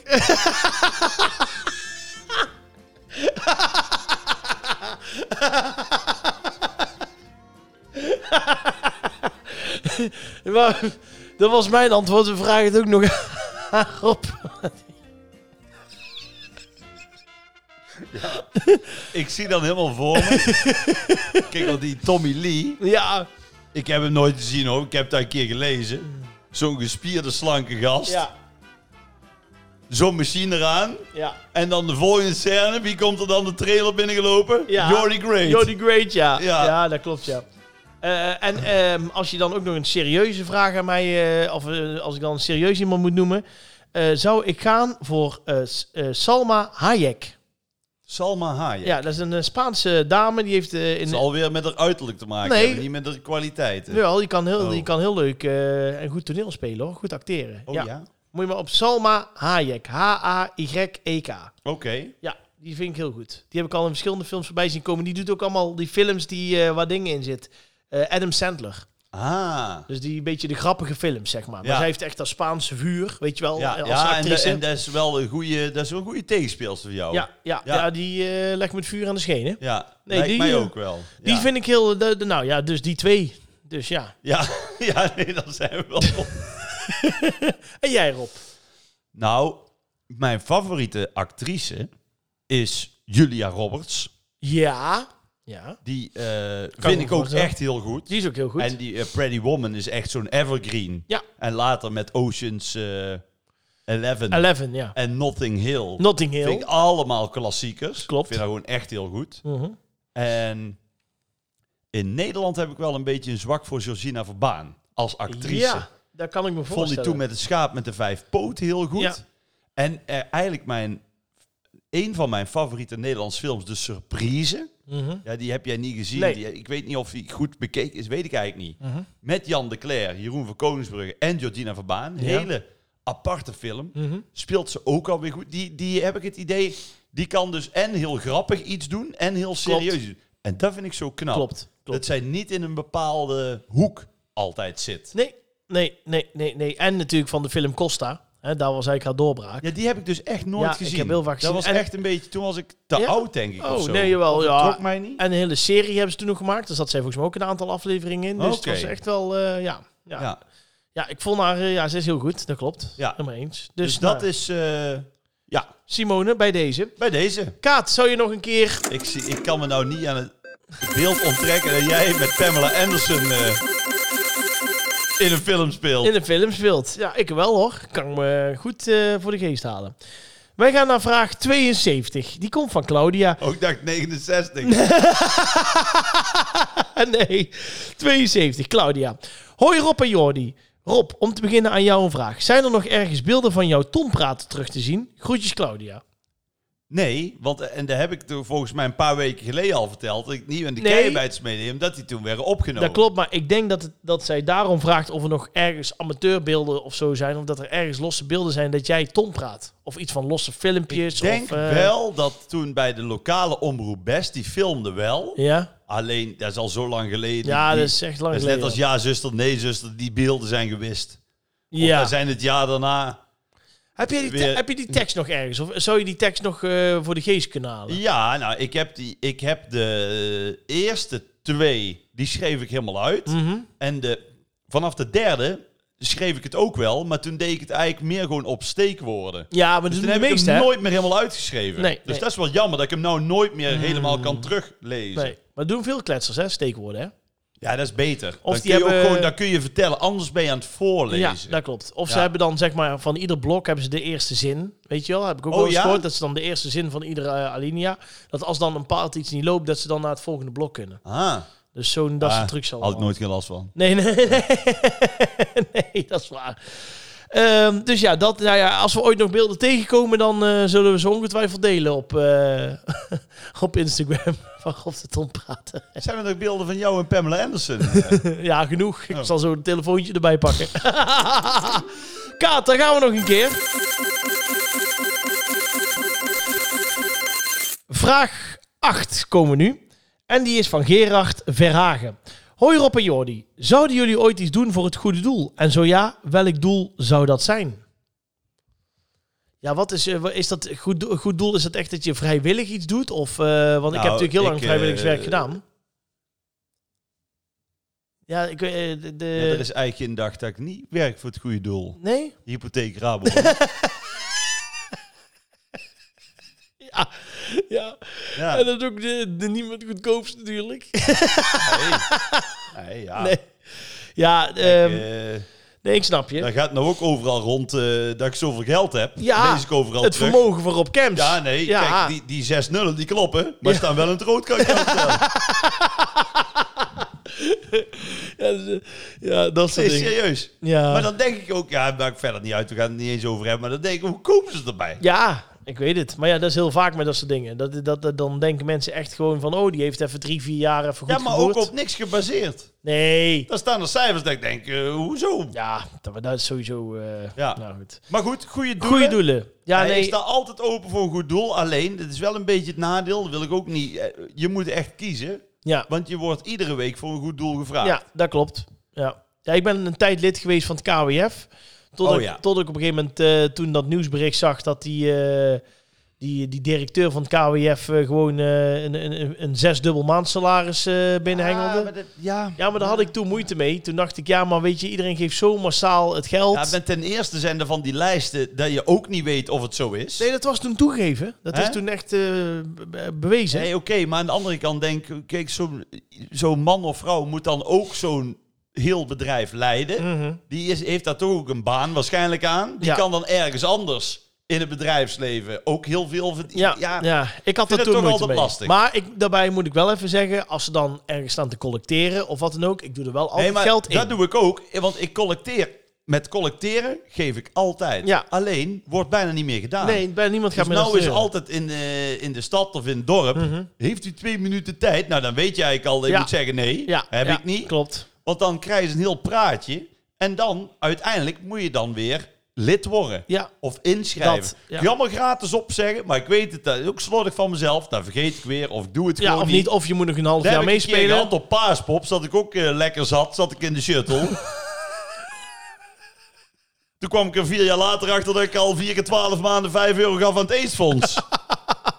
maar, dat was mijn antwoord. We vragen het ook nog aan Rob.
Ik zie dan helemaal voor me. Kijk, want die Tommy Lee.
Ja,
Ik heb hem nooit gezien hoor. Ik heb dat een keer gelezen. Zo'n gespierde, slanke gast.
ja,
Zo'n machine eraan.
ja.
En dan de volgende scène. Wie komt er dan de trailer binnengelopen?
Ja.
Jordi Great.
Jordi Great, ja. ja.
Ja.
dat klopt, ja. Eh, en ehm, als je dan ook nog een serieuze vraag aan mij, eh, of eh, als ik dan een serieus iemand moet noemen, eh, zou ik gaan voor eh, S- eh, Salma Hayek.
Salma Hayek.
Ja, dat is een eh, Spaanse dame, die heeft eh,
Het
in...
zal alweer met haar uiterlijk te maken
Nee.
hebben, niet met haar kwaliteiten.
Jawel, die kan heel,
Oh.
die kan heel leuk eh, en goed toneel spelen, hoor. goed acteren.
Oh ja?
ja. Moet je maar op Salma Hayek, H-A-Y-E-K.
Oké.
E Ja, die vind ik heel goed. Die heb ik al in verschillende films voorbij zien komen. Die doet ook allemaal die films die, eh, waar dingen in zit. Eh, Adam Sandler.
Ah.
Dus die een beetje de grappige films, zeg maar. Maar
Ja.
zij heeft echt dat Spaanse vuur, weet je wel, eh,
Ja,
als
ja en, de-
actrice.
en dat is wel een goede, dat is wel een goede tegenspeelster voor jou.
ja, ja, ja.
Ja.
die eh, legt me het vuur aan de schenen.
ja
Nee,
nee, lijkt
die,
mij
eh,
ook wel.
Die
ja.
vind ik heel... De, de- nou ja, dus die twee. Dus ja.
Ja, ja, nee, dan zijn we wel.
En jij, Rob?
nou, mijn favoriete actrice is Julia Roberts.
Ja. Ja.
Die eh,
me
vind ik ook
voorstellen.
echt heel goed.
Die is ook heel goed.
En die eh, Pretty Woman is echt zo'n evergreen.
Ja.
En later met Oceans eh 11
Eleven, ja.
en Notting Hill.
Notting Hill.
Vind ik allemaal klassiekers.
Klopt.
Ik vind dat gewoon echt heel goed.
Mhm.
En in Nederland heb ik wel een beetje een zwak voor Georgina Verbaan als actrice.
Ja, daar kan ik me
Vond
voorstellen.
die toen met het schaap met de vijf poot heel goed.
Ja.
En eh, eigenlijk mijn, een van mijn favoriete Nederlands films, De Surprise.
Mhm.
Ja, die heb jij niet gezien.
Nee.
Die- ik weet niet of die goed bekeken is, weet ik eigenlijk niet.
Mhm.
Met Jan de Cler, Jeroen van Koningsbrugge en Georgina Verbaan. Een
Ja.
hele aparte film
Mhm.
speelt ze ook alweer goed. Die, die heb ik het idee, die kan dus en heel grappig iets doen en heel serieus
Klopt.
doen. En dat vind ik zo knap.
Klopt, klopt.
Dat zij niet in een bepaalde hoek altijd zit.
Nee, nee, nee, nee, nee. En natuurlijk van de film Costa. Hè, daar was eigenlijk haar doorbraak.
Ja, die heb ik dus echt nooit
Ja, ik
gezien.
heb heel
dat
vaak gezien.
was
En-
echt een beetje, toen was ik te
Ja?
oud denk ik
Oh,
of zo.
nee, jawel,
Of het
ja.
trok mij niet.
En een hele serie hebben ze toen nog gemaakt. Dus dat zijn volgens mij ook een aantal afleveringen in. Dus
Oké.
het was echt wel, eh, ja. Ja.
ja.
ja. Ja, ik vond haar, eh, ja, ze is heel goed, dat klopt.
Ja.
Helemaal eens. Dus,
Dus, dat
nou,
is... eh, ja,
Simone bij deze.
bij deze.
Kaat, zou je nog een keer...
Ik, zie, ik kan me nou niet aan het beeld onttrekken dat jij met Pamela Anderson eh, in een film speelt.
In de film speelt. Ja, ik wel hoor. Kan me goed eh, voor de geest halen. Wij gaan naar vraag 72. Die komt van Claudia.
Ook Oh, ik dacht 69.
Ah, nee, 72. Claudia. Hoi Rob en Jordi. Rob, om te beginnen aan jou een vraag. Zijn er nog ergens beelden van jouw tompraten terug te zien? Groetjes Claudia.
Nee, want eh, en daar heb ik toen volgens mij een paar weken geleden al verteld. Dat ik niet in de
Nee.
keienbeidsmedium, dat die toen werden opgenomen.
Dat klopt, maar ik denk dat, het, dat zij daarom vraagt of er nog ergens amateurbeelden of zo zijn. Of dat er ergens losse beelden zijn dat jij tompraat. Of iets van losse filmpjes.
Ik denk
of, eh,
wel dat toen bij de lokale omroep Best, die filmde wel.
Ja,
Alleen, dat is al zo lang geleden.
ja
Die-
dat is echt lang
dat is net
geleden.
als ja zuster, nee zuster, die beelden zijn gewist. Ja.
ja.
zijn het jaar daarna...
Heb, je die te-
weer-
heb je die tekst nog ergens? Of zou je die tekst nog eh, voor de geest kunnen halen?
Ja, nou, ik heb, die, ik heb de eerste twee, die schreef ik helemaal uit.
Mhm.
En de, vanaf de derde schreef ik het ook wel, maar toen deed ik het eigenlijk meer gewoon op steekwoorden.
Ja, maar
Dus
dat
toen
doen de
heb ik
meeste,
hem
hè?
nooit meer helemaal uitgeschreven.
Nee,
dus
nee. Mm.
dat is wel jammer dat ik hem nou nooit meer helemaal kan teruglezen.
Nee, maar doen veel kletsers, hè? Steekwoorden, hè?
Ja, dat is beter.
Of
dan,
die
kun je ook
hebben-
gewoon, dan kun je vertellen, anders ben je aan het voorlezen.
Ja, dat klopt. Of ze
Ja.
hebben dan zeg maar van ieder blok hebben ze de eerste zin. Weet je wel, heb ik ook
Oh,
wel eens
ja?
gehoord dat ze dan de eerste zin van iedere eh, alinea. Dat als dan een paard iets niet loopt, dat ze dan naar het volgende blok kunnen.
Ah,
Dus zo'n dat
Ah,
soort trucs zal.
had ik nooit geen last van.
Nee, nee, nee, nee, dat is waar. Ehm, dus ja, dat, nou ja, als we ooit nog beelden tegenkomen, dan eh, zullen we ze ongetwijfeld delen op, eh, op Instagram van Rob de Ton praten.
Zijn er nog beelden van jou en Pamela Anderson?
Ja, genoeg.
Oh.
Ik zal zo een telefoontje erbij pakken. Kaat, daar gaan we nog een keer. Vraag 8 komen we nu. En die is van Gerard Verhagen. Hoi Rob en Jordi. Zouden jullie ooit iets doen voor het goede doel? En zo ja, welk doel zou dat zijn? Ja, wat is, eh, wa- is dat goed, doel- goed doel? Is dat echt dat je vrijwillig iets doet? Of, eh, want ik heb
Nou,
natuurlijk heel lang
ik,
vrijwilligerswerk
eh,
gedaan. Ja, ik weet... eh, De, de-
Ja, er is eigenlijk geen dag dat ik niet werk voor het goede doel.
Nee?
Hypotheek Rabobank.
Ja. ja.
ja.
En dat is ook de, de niemand goedkoopst natuurlijk.
Nee. Nee, ja.
Nee. Ja,
Kijk,
ehm,
eh,
nee, ik snap je.
daar gaat nou ook overal rond eh, dat ik zoveel geld heb.
Ja,
Dat lees ik overal
Het
terug.
vermogen voor op camps.
Ja, nee,
Ja.
kijk, die, die zes nullen die kloppen, maar staan wel in het rood, kan ik je vertellen.
Ja, dat- eh, ja, dat soort
Nee,
dingen.
serieus.
Ja.
Maar dan denk ik ook, ja, daar maak ik verder niet uit, we gaan het niet eens over hebben, maar dan denk ik, hoe kopen ze het erbij?
Ja, ik weet het. Maar ja, dat is heel vaak met dat soort dingen. Dat, dat, dat- dan denken mensen echt gewoon van... Oh, die heeft even drie, vier jaar even goed
Ja, maar
gevoerd.
ook op niks gebaseerd.
Nee.
Daar staan er cijfers dat ik denk, eh, hoezo?
Ja, dat, dat is sowieso... eh,
Ja.
Nou goed.
Maar goed, goede doelen.
Goeie doelen. Ja,
nee. Ik
nee.
sta altijd open voor een goed doel, alleen, dit is wel een beetje het nadeel, dat wil ik ook niet. eh, Je moet echt kiezen,
Ja,
want je wordt iedere week voor een goed doel gevraagd.
ja dat klopt. Ja. ja, ik ben een tijd lid geweest van het KWF. Totdat,
Oh,
ik-
ja.
totdat ik op een gegeven moment, eh, toen dat nieuwsbericht zag... dat die, eh, die, die directeur van het KWF eh, gewoon eh, een, een, een- een zesdubbel maandsalaris eh binnenhengelde.
Ah, maar dat- ja.
Ja, maar daar had ik toen moeite mee. Toen dacht ik, ja, maar weet je, iedereen geeft zo massaal het geld.
Ja, maar ten eerste zijn er van die lijsten dat je ook niet weet of het zo is.
Nee, dat was toen toegegeven. Dat
Hè?
is toen echt eh, be- be- bewezen.
Nee, oké, maar aan de andere kant denk ik, kijk, zo'n zo'n man of vrouw moet dan ook zo'n heel bedrijf leiden.
Mhm.
Die is, heeft daar toch ook een baan waarschijnlijk aan. Die
Ja.
kan dan ergens anders in het bedrijfsleven ook heel veel
ja,
verdienen.
ja, ik had
vind het
dat toen
toch
moeite
altijd
mee.
lastig.
Maar ik, daarbij moet ik wel even zeggen, als ze dan ergens staan te collecteren of wat dan ook, ik doe er wel altijd
Nee, maar
geld in.
dat doe ik ook, want ik collecteer. Met collecteren geef ik altijd.
Ja.
Alleen wordt bijna niet meer gedaan.
Nee, bij niemand gaat
Dus
meer
nou is
naar de
altijd in de, in de stad of in het dorp. Heeft u twee minuten tijd? Nou, dan weet je eigenlijk al. dat Je
Mhm. Ja.
moet zeggen nee.
deur. Ja,
heb
ja,
ik niet.
Klopt.
Want dan krijg je een heel praatje. En dan uiteindelijk moet je dan weer lid worden.
Ja,
Of inschrijven.
Dat,
Dat,
ja.
Jammer gratis opzeggen. Maar ik weet het. Dat is ook slordig van mezelf. Dan vergeet ik weer. Of ik doe het
ja
gewoon
of niet. Of je moet nog een half
Daar
jaar
heb ik een keer
meespelen.
gehad op Paaspop. Zat ik ook eh, lekker zat. Zat ik in de shuttle. Toen kwam ik er vier jaar later achter dat ik al vier keer twaalf maanden vijf euro gaf aan het aidsfonds.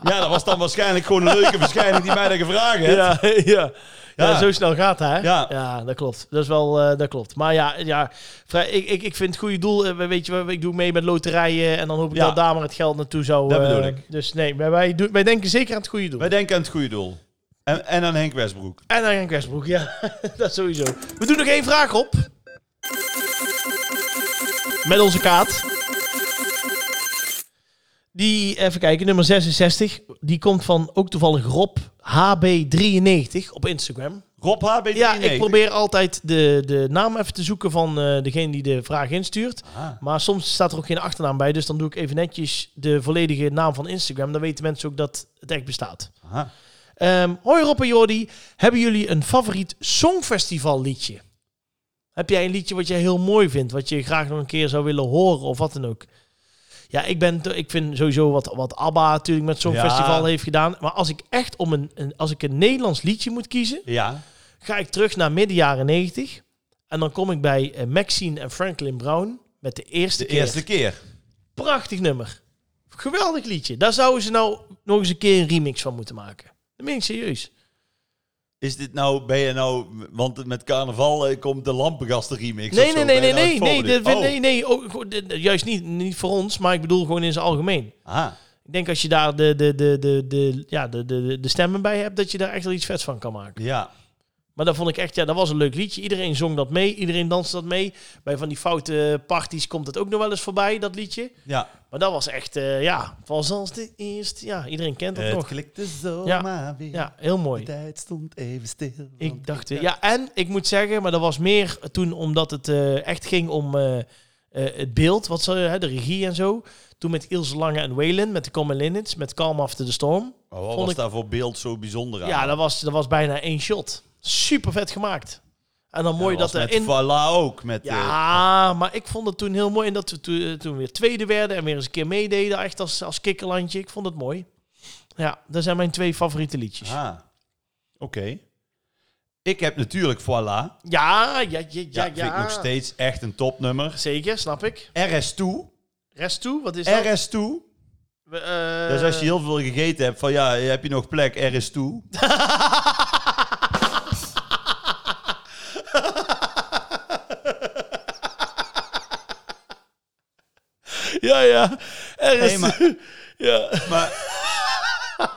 ja, dat was dan waarschijnlijk gewoon een leuke verschijning die mij dat gevraagd heeft.
Ja, ja. Ja,
Ja.
zo snel gaat het, hè?
Ja.
dat klopt. Dat, is wel, eh, dat klopt. Maar ja, ja vrij, ik, ik, ik vind het goede doel. eh, weet je, wel, ik doe mee met loterijen en dan hoop ik
Ja.
dat daar maar het geld naartoe zou...
Dat
eh,
bedoel ik.
Dus nee, maar wij, doen, wij denken zeker aan het goede doel.
Wij denken aan het goede doel. En, en aan Henk Westbroek.
En dan een kwestbroek, ja. dat sowieso. We doen nog één vraag op. Met onze kaart. Die, even kijken, nummer 66. Die komt van ook toevallig Rob HB93 op Instagram.
Rob HB.
Ja, ik probeer altijd de, de naam even te zoeken van eh, degene die de vraag instuurt. Maar soms staat er ook geen achternaam bij. Dus dan doe ik even netjes de volledige naam van Instagram. Dan weten mensen ook dat het echt bestaat. Ehm, hoi Rob en Jordi, hebben jullie een favoriet songfestival liedje? Heb jij een liedje wat jij heel mooi vindt, wat je graag nog een keer zou willen horen of wat dan ook? Ja, ik, ben, t- ik vind sowieso wat, wat ABBA natuurlijk met Songfestival
Ja.
heeft gedaan. Maar als ik echt om een, een, als ik een Nederlands liedje moet kiezen,
Ja.
ga ik terug naar midden jaren 90. En dan kom ik bij eh, Maxine en Franklin Brown met de eerste
De
keer.
eerste keer.
Prachtig nummer. Geweldig liedje. Daar zouden ze nou nog eens een keer een remix van moeten maken. Dat meen ik serieus.
Is dit nou, ben je nou, want met carnaval eh, komt de lampengasten remix
Nee,
of zo.
nee, nee,
Ben
nee,
je nou
nee,
het
nee,
voorbeeld?
dat vind-
Oh.
nee, nee, ook gewoon- dit- juist niet, niet voor ons, maar ik bedoel gewoon in zijn algemeen.
Aha.
Ik denk als je daar de, de, de, de, de, ja, de, de, de- de stemmen bij hebt, dat je daar echt wel iets vets van kan maken.
Ja.
Maar dat vond ik echt, ja, dat was een leuk liedje. Iedereen zong dat mee, iedereen danste dat mee. Bij van die foute parties komt het ook nog wel eens voorbij, dat liedje.
Ja.
Maar dat was echt, eh, ja, was als de eerste, ja, iedereen kent dat
Het
nog.
klikte zomaar
Ja.
weer.
Ja, heel mooi.
De tijd stond even stil.
Ik dacht, eh, ja, en ik moet zeggen, maar dat was meer toen omdat het eh, echt ging om eh, eh, het beeld, wat ze, hè, de regie en zo. Toen met Ilse Lange en Waylon, met de Common Linnets, met Calm After the Storm.
Maar wat
Vond
was
ik-
daar voor beeld zo bijzonder aan?
Ja, dat was, dat was bijna één shot. Super vet gemaakt. En dan mooi dat
was
er
met
in...
Vala ook. Met, eh,
Ja, maar ik vond het toen heel mooi. En dat we to- eh, toen weer tweede werden en weer eens een keer meededen. Echt als, als kikkerlandje. Ik vond het mooi. Ja, dat zijn mijn twee favoriete liedjes.
ah. Oké. Ik heb natuurlijk Voila.
Ja, ja, ja, ja.
Ja,
ja,
vind ik nog steeds echt een topnummer.
Zeker, snap ik.
RS2.
Rest toe, wat is dat?
RS2.
We, eh,
Dus als je heel veel gegeten hebt, van ja, heb je nog plek RS2?
Ja, ja. Er is
Nee, maar-
toe. Ja,
Maar,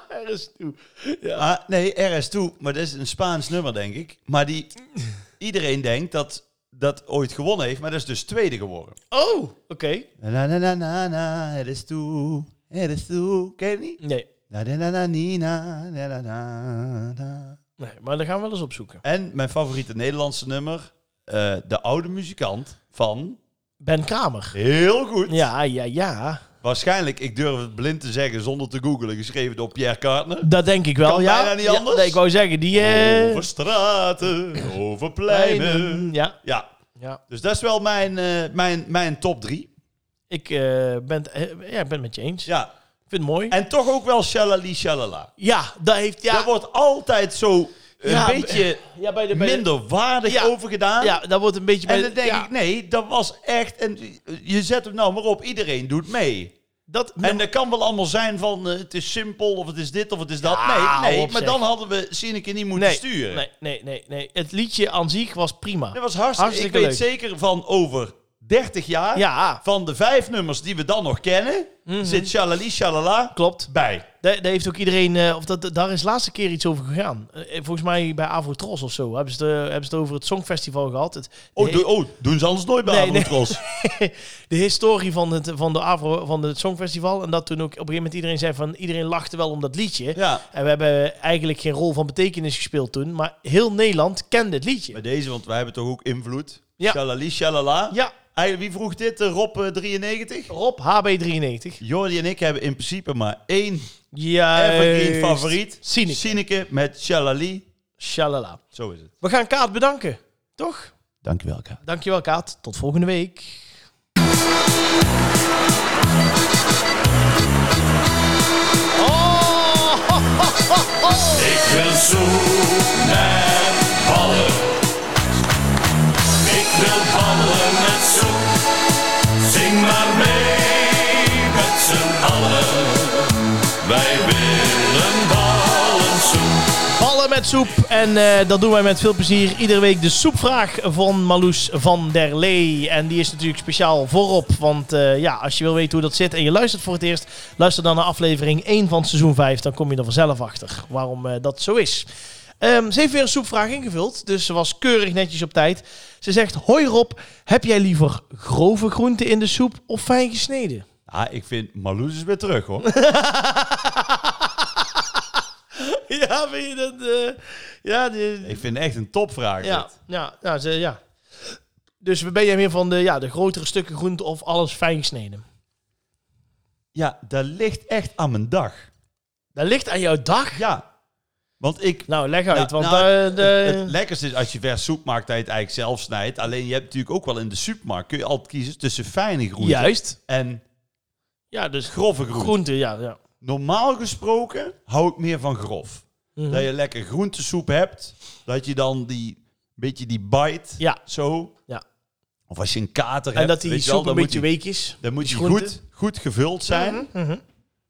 er is toe. Ja.
ah, nee, RS2, maar dat is een Spaans nummer, denk ik. Maar die, iedereen denkt dat dat ooit gewonnen heeft, maar dat is dus tweede geworden.
Oh, oké.
Na na na na na, RS2, RS2, ken je die?
Nee.
Na na na na ni, na, na na na na.
nee, maar dan gaan we wel eens opzoeken.
En mijn favoriete Nederlandse nummer, eh, de oude muzikant van...
Ben Kramer.
Heel goed.
Ja, ja, ja.
Waarschijnlijk, ik durf het blind te zeggen zonder te googlen, geschreven door Pierre Cartner.
Dat denk ik wel,
Kan
ja.
bijna niet
Ja,
anders.
nee, ik wou zeggen, die... eh,
Over straten, over pleinen.
Ja,
Ja,
ja.
dus dat is wel mijn, eh, mijn, mijn top drie.
Ik eh, ben, het- eh, ja, ik ben het met je eens.
Ja.
Ik vind het mooi.
En toch ook wel shalali shalala.
ja, dat heeft... Ja,
Daar wordt altijd zo een
Ja,
beetje
ja, bij de, bij de-
minder waardig
Ja.
over gedaan.
ja, dat wordt een beetje... bij
En
de-
dan denk
ja,
ik, nee, dat was echt... En je zet hem nou maar op, iedereen doet mee.
Dat,
En dat kan wel allemaal zijn van eh, het is simpel of het is dit of het is dat.
Ja,
nee, nee
hou op,
maar
zeg.
dan hadden we Sineke niet moeten
nee,
sturen.
nee, nee, nee, nee. Het liedje aan zich was prima.
Dat was hartstikke,
Hartstikke
Ik
leuk.
weet zeker van over 30 jaar,
Ja, Mhm.
van de vijf nummers die we dan nog kennen, zit Shalali Shalala
klopt.
bij.
Daar, daar heeft ook iedereen, eh, of dat, daar is laatste keer iets over gegaan. Eh, volgens mij bij Avro Tros of zo hebben ze, het, eh, hebben ze het over het Songfestival gehad. Het,
Oh,
de,
do- oh, doen ze anders nooit bij
Nee,
nee, Avrotros.
de historie van het, van, de Avro, van het Songfestival. En dat toen ook op een gegeven moment iedereen zei van iedereen lachte wel om dat liedje.
Ja,
En we hebben eigenlijk geen rol van betekenis gespeeld toen. Maar heel Nederland kende het liedje.
bij deze, want wij hebben toch ook invloed.
Ja.
Shalali Shalala.
Ja,
Eigenlijk, Wie vroeg dit? Eh, Rob eh, 93?
Rob HB93.
Jordi en ik hebben in principe maar één
Ja,
evergreen favoriet.
Eh, Sineke.
Sineke met Shalali.
Shalala.
Zo is het.
We gaan Kaat bedanken, toch?
Dankjewel, Kaat.
Dankjewel, Kaat. Tot volgende week. Oh!
Ik wil zoek naar ballen. Ik wil ballen met zoek. Zing maar mee met z'n allen. Wij willen ballen zoek.
Ballen met soep. En eh, dat doen wij met veel plezier. Iedere week de soepvraag van Marloes van der Lee. En die is natuurlijk speciaal voorop. Want eh, ja, als je wil weten hoe dat zit en je luistert voor het eerst, luister dan naar aflevering 1 van seizoen 5. Dan kom je er vanzelf achter waarom eh, dat zo is. Ehm, ze heeft weer een soepvraag ingevuld, dus ze was keurig netjes op tijd. Ze zegt, hoi Rob, heb jij liever grove groenten in de soep of fijn gesneden?
Ah, ik vind Marloes is weer terug, hoor.
Ja, vind je dat... eh, ja, de-
ik vind echt een topvraag.
Ja,
dit.
ja, ja, ze, ja. Dus ben jij meer van de, ja, de grotere stukken groente of alles fijn gesneden?
ja, dat ligt echt aan mijn dag.
Dat ligt aan jouw dag.
Ja, want ik...
Nou, leg uit,
Nou,
want
nou,
eh,
het-
de,
het, het lekkerste is dus als je vers soep maakt dat je het eigenlijk zelf snijdt. Alleen je hebt natuurlijk ook wel in de supermarkt kun je altijd kiezen tussen fijne groenten
juist.
en
Ja, dus groente,
grove groenten.
ja, ja.
Normaal gesproken hou ik meer van grof.
Mhm.
Dat je lekker groentesoep hebt, dat je dan die beetje die bite
Ja.
zo.
Ja.
Of als je een kater
En
hebt,
dat die
weet je
soep
wel,
een
dan moet
beetje
die-
week is.
Dan moet
die
je
groente.
goed, goed gevuld zijn.
Mhm.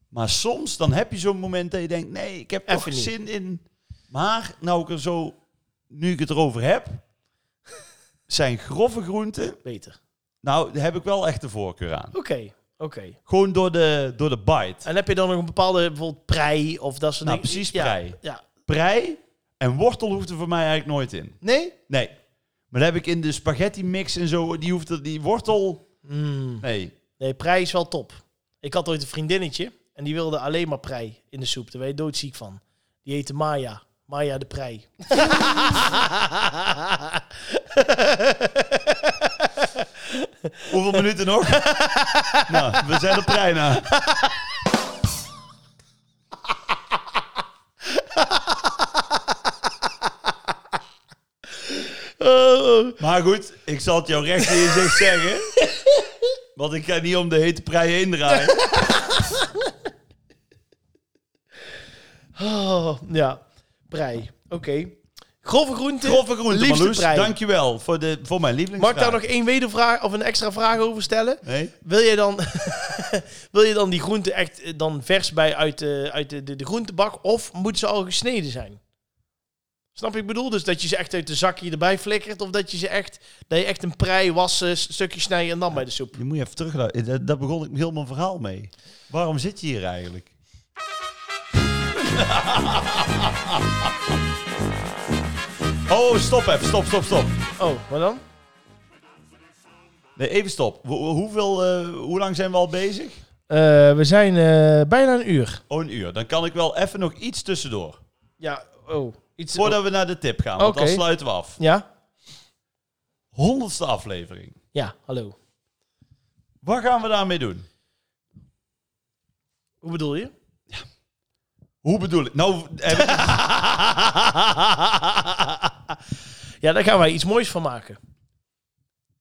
Maar soms dan heb je zo'n moment dat je denkt, nee, ik heb toch
Even niet.
zin in. Maar nou ik er zo, nu ik het erover heb, zijn grove groenten.
Beter.
Nou, daar heb ik wel echt de voorkeur aan.
Oké, oké.
Gewoon door de, door de bite.
En heb je dan nog een bepaalde, bijvoorbeeld prei of dat soort
Nou,
dingen?
precies
Ja,
prei.
Ja.
Prei en wortel hoeft er voor mij eigenlijk nooit in.
Nee?
Nee. Maar dat heb ik in de spaghetti mix en zo, die hoeft er, die wortel...
Mm.
Nee.
Nee, prei is wel top. Ik had ooit een vriendinnetje en die wilde alleen maar prei in de soep. Daar ben je doodziek van. Die heette Maya. Maya de prei.
Hoeveel minuten nog? nou, we zijn op prei na. Maar goed, ik zal het jou recht in je gezicht zeggen. Want ik ga niet om de hete prei heen draaien.
Oh, ja, prei. Oké. Grove groenten.
Grove groente,
liefste
Marloes.
prei.
Dankjewel voor, de, voor mijn
Mag
lievelingsvraag.
ik daar nog één wedervraag of een extra vraag over stellen?
Nee?
Wil je dan, wil je dan die groente echt eh, dan vers bij uit, de, uit de, de, de groentebak? Of moet ze al gesneden zijn? Snap je? wat Ik bedoel dus dat je ze echt uit de zakje erbij flikkert. Of dat je ze echt, dat je echt een prei wassen, s- stukje snijden en dan bij de soep.
Je moet je even terugluisteren. Eh, Daar- Daar begon ik heel mijn verhaal mee. Waarom zit je hier eigenlijk? oh, stop even. Stop, stop, stop.
Oh, wat dan?
Nee, even stop. Hoe- hoeveel, eh, hoe lang zijn we al bezig?
Eh, we zijn eh, bijna een uur.
Oh, een uur. Dan kan ik wel even nog iets tussendoor.
Ja, oh. Iets,
Voordat we naar de tip gaan, want dan
Oké.
sluiten we af.
Ja?
Honderdste aflevering.
Ja, hallo.
Wat gaan we daarmee doen?
Hoe bedoel je?
Hoe bedoel ik? Nou, heb ik-
ja, daar gaan wij iets moois van maken.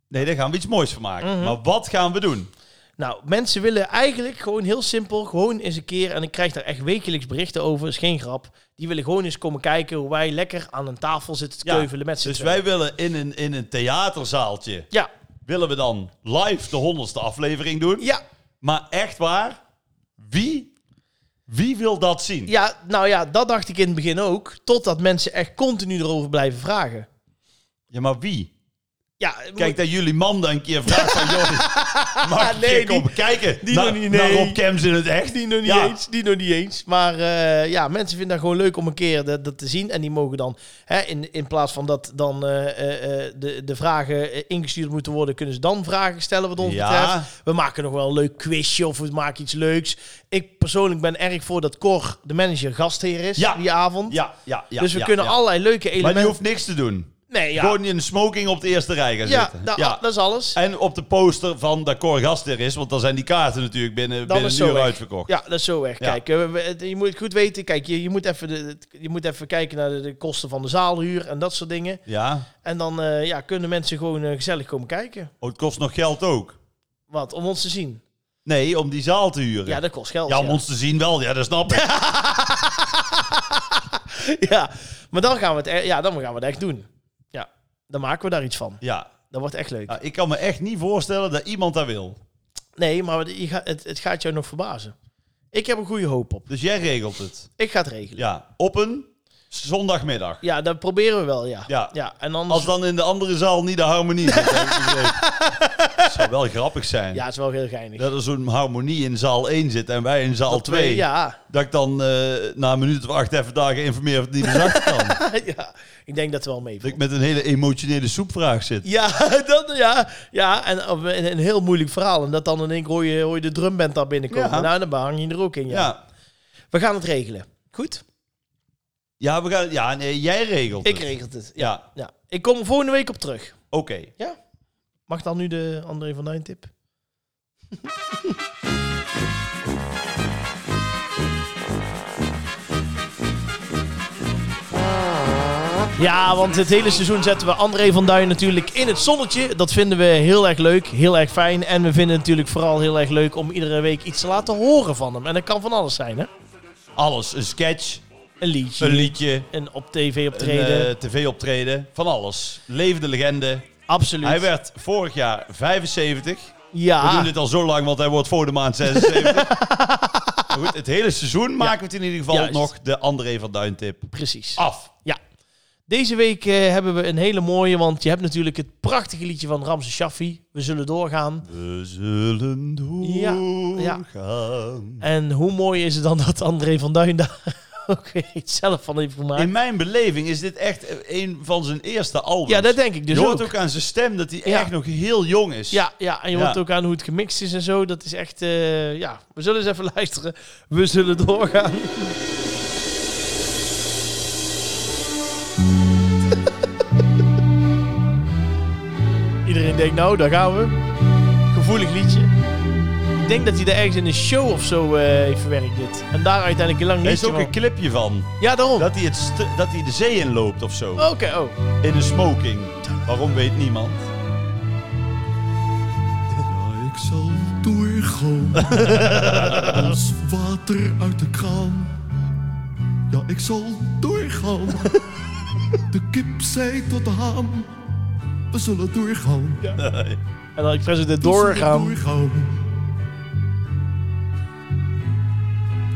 nee, daar gaan we iets moois van maken.
Mhm.
Maar wat gaan we doen?
Nou, mensen willen eigenlijk gewoon heel simpel, gewoon eens een keer, en ik krijg daar echt wekelijks berichten over, is geen grap. Die willen gewoon eens komen kijken hoe wij lekker aan een tafel zitten te
Ja,
keuvelen met z'n
Dus
tweeën.
wij willen in een, in een theaterzaaltje,
Ja,
willen we dan live de honderdste aflevering doen.
ja,
Maar echt waar, wie, wie wil dat zien?
ja, nou ja, dat dacht ik in het begin ook, totdat mensen echt continu erover blijven vragen.
Ja, maar wie?
Ja,
Kijk, dat jullie man dan een keer vraagt van, joh, mag ik een
Nee,
keer komen
die-
kijken?
die
naar,
nog niet, nee.
naar Rob Kems in het echt?
Die nog niet
Ja.
eens, die nog niet eens. Maar eh, ja, mensen vinden dat gewoon leuk om een keer dat, dat te zien. En die mogen dan, hè, in, in plaats van dat dan eh, eh, eh, de, de vragen eh, ingestuurd moeten worden, kunnen ze dan vragen stellen wat ons
Ja.
betreft. We maken nog wel een leuk quizje of we maken iets leuks. Ik persoonlijk ben erg voor dat Cor, de manager, gastheer is
Ja.
die avond.
Ja, ja, ja.
dus we
ja,
kunnen
ja.
allerlei leuke
Maar die
elementen...
hoeft niks te doen.
Nee, ja.
Gewoon in de smoking op de eerste rij gaan
Ja,
zitten.
nou, dat is alles.
En op de poster van dat Cor Gast er is, want dan zijn die kaarten natuurlijk binnen,
Dan
binnen
is
een
zo
uur
weg.
uitverkocht.
Ja, dat is zo weg.
Ja.
Kijk, eh, we- we- je moet het goed weten. Kijk, je, je, moet, even de, je moet even kijken naar de, de kosten van de zaalhuur en dat soort dingen.
Ja.
En dan eh, ja, kunnen mensen gewoon eh, gezellig komen kijken.
Oh, het kost nog geld ook.
Wat? Om ons te zien.
Nee, om die zaal te huren.
Ja, dat kost geld.
Ja,
Ja,
om ons te zien wel. Ja, dat snap ik.
Ja. maar dan gaan, we het, e- ja, dan gaan we het echt doen. Ja, dan maken we daar iets van.
Ja.
Dat wordt echt leuk.
Ja, ik kan me echt niet voorstellen dat iemand dat wil.
Nee, maar je gaat- het, het gaat jou nog verbazen. Ik heb een goede hoop op.
Dus jij regelt het.
Ik ga het regelen.
Ja, op een Zondagmiddag.
Ja, dat proberen we wel, ja.
Ja.
en anders...
Als dan in de andere zaal niet de harmonie zit. heb ik begrepen. Het zou wel grappig zijn.
Ja, het is wel heel geinig.
Dat er zo'n harmonie in zaal 1 zit en wij in zaal 2.
Ja.
Dat ik dan eh, na een minuut of acht even daar geïnformeerd of het niet meer zacht kan. dat
ja, ik denk dat het wel mee
ik met een hele emotionele soepvraag zit.
Ja, dat, ja, ja, en of een een heel moeilijk verhaal. En dat dan in één keer hoor je, hoor je de drumband daar binnenkomen.
Ja.
Nou, dan hang je er ook in, ja.
Ja,
We gaan het regelen. Goed?
ja, we gaan, ja nee, jij regelt
Ik
het.
regel het, ja.
Ja,
ja. Ik kom er volgende week op terug.
oké.
Ja? Mag dan nu de André van Duin tip? Ja, want het hele seizoen zetten we André van Duin natuurlijk in het zonnetje. Dat vinden we heel erg leuk, heel erg fijn. En we vinden het natuurlijk vooral heel erg leuk om iedere week iets te laten horen van hem. En dat kan van alles zijn, hè?
Alles. Een sketch,
Een liedje,
een liedje,
een op tv optreden.
een eh, tv-optreden. Van alles. Levende legende.
Absoluut.
Hij werd vorig jaar 75.
ja.
We doen dit al zo lang, want hij wordt voor de maand 76. Maar goed, het hele seizoen maken we het in ieder geval
Juist.
nog de André van Duin tip
precies.
af.
Ja. Deze week eh, hebben we een hele mooie, want je hebt natuurlijk het prachtige liedje van Ramse Shaffi. We zullen doorgaan.
We zullen
Ja, ja.
doorgaan.
En hoe mooi is het dan dat André van Duin daar ook weer iets zelf van heeft gemaakt?
In mijn beleving is dit echt een van zijn eerste albums.
Ja, dat denk ik dus
je hoort
ook.
ook. aan zijn stem dat hij
Ja.
echt nog heel jong is.
Ja, ja, en je
Ja.
hoort ook aan hoe het gemixt is en zo. Dat is echt, eh, ja, we zullen eens even luisteren. We zullen doorgaan. Iedereen denkt, nou, daar gaan we. Gevoelig liedje. Ik denk dat hij er ergens in een show of zo eh, heeft verwerkt dit. En daar uiteindelijk een lang
Er is
liedje
ook een
van.
clipje van.
Ja, daarom.
Dat hij, het st- dat hij de zee in loopt of zo.
Oké, oh.
In een smoking. Waarom weet niemand.
Ja, ik zal doorgaan als water uit de kraan. Ja, ik zal doorgaan. De kip zei tot de haan, we zullen doorgaan. we
En dan ik president
zullen
doorgaan.
doorgaan.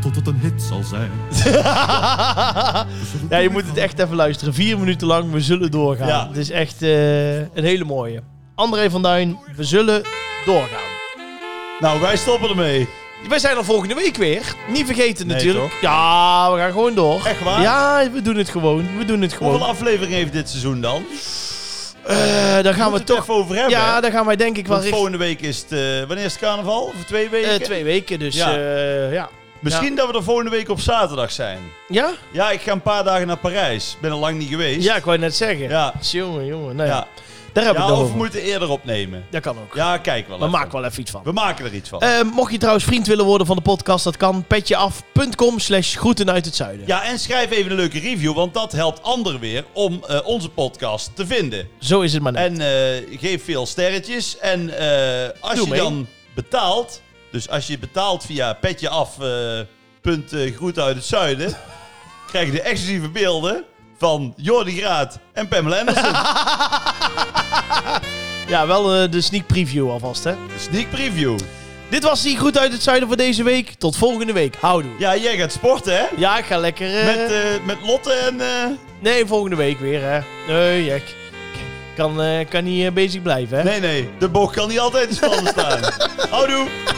Tot het een hit zal zijn.
Ja, je moet het echt even luisteren. Vier minuten lang, we zullen doorgaan.
Ja.
Het is echt eh, een hele mooie. André van Duin, we zullen doorgaan.
Nou, wij stoppen ermee.
Wij zijn er volgende week weer. Niet vergeten
Nee,
natuurlijk.
toch?
Ja, we gaan gewoon door.
Echt waar?
Ja, we doen het gewoon. We doen het gewoon.
Hoeveel afleveringen heeft dit seizoen dan?
Eh, daar gaan we
Moeten we het
toch...
even over hebben.
Ja, daar gaan wij denk ik wel
Want
richting...
volgende week is het... eh, wanneer is het carnaval? Over twee weken?
eh, twee weken, dus
Ja.
ja. ja.
Misschien dat we er volgende week op zaterdag zijn.
Ja?
Ja, ik ga een paar dagen naar Parijs. Ik ben er lang niet geweest.
Ja, ik wou net zeggen.
Ja.
Jongen, jongen. Nou, ja.
ja.
Daar heb ik
ja
nog
of we
over.
moeten eerder opnemen.
Dat kan ook.
Ja, kijk wel
we
even.
maken wel even iets van.
We maken er iets van.
Eh, mocht je trouwens vriend willen worden van de podcast, dat kan. Petjeaf.com slash groeten uit het zuiden.
ja, en schrijf even een leuke review, want dat helpt anderen weer om eh, onze podcast te vinden.
Zo is het maar net.
En eh, geef veel sterretjes. En eh, als
Doe
je
mee.
dan betaalt, dus als je betaalt via petjeaf, eh, punt eh, groet uit het zuiden, krijg je de exclusieve beelden van Jordi Graat en Pamela Anderson.
Ja, wel eh, de sneak preview alvast, hè.
De Sneak preview.
Dit was die groeten uit het zuiden voor deze week. Tot volgende week. Houdoe. Ja,
Ja, jij gaat sporten, hè?
ik ga lekker... eh,
Met, eh, met Lotte en... eh,
Nee, volgende week weer, hè. Nee, Jack. Kan, eh, kan niet eh, bezig blijven, hè.
Nee, nee, de boog kan niet altijd in spannen staan. Houdoe!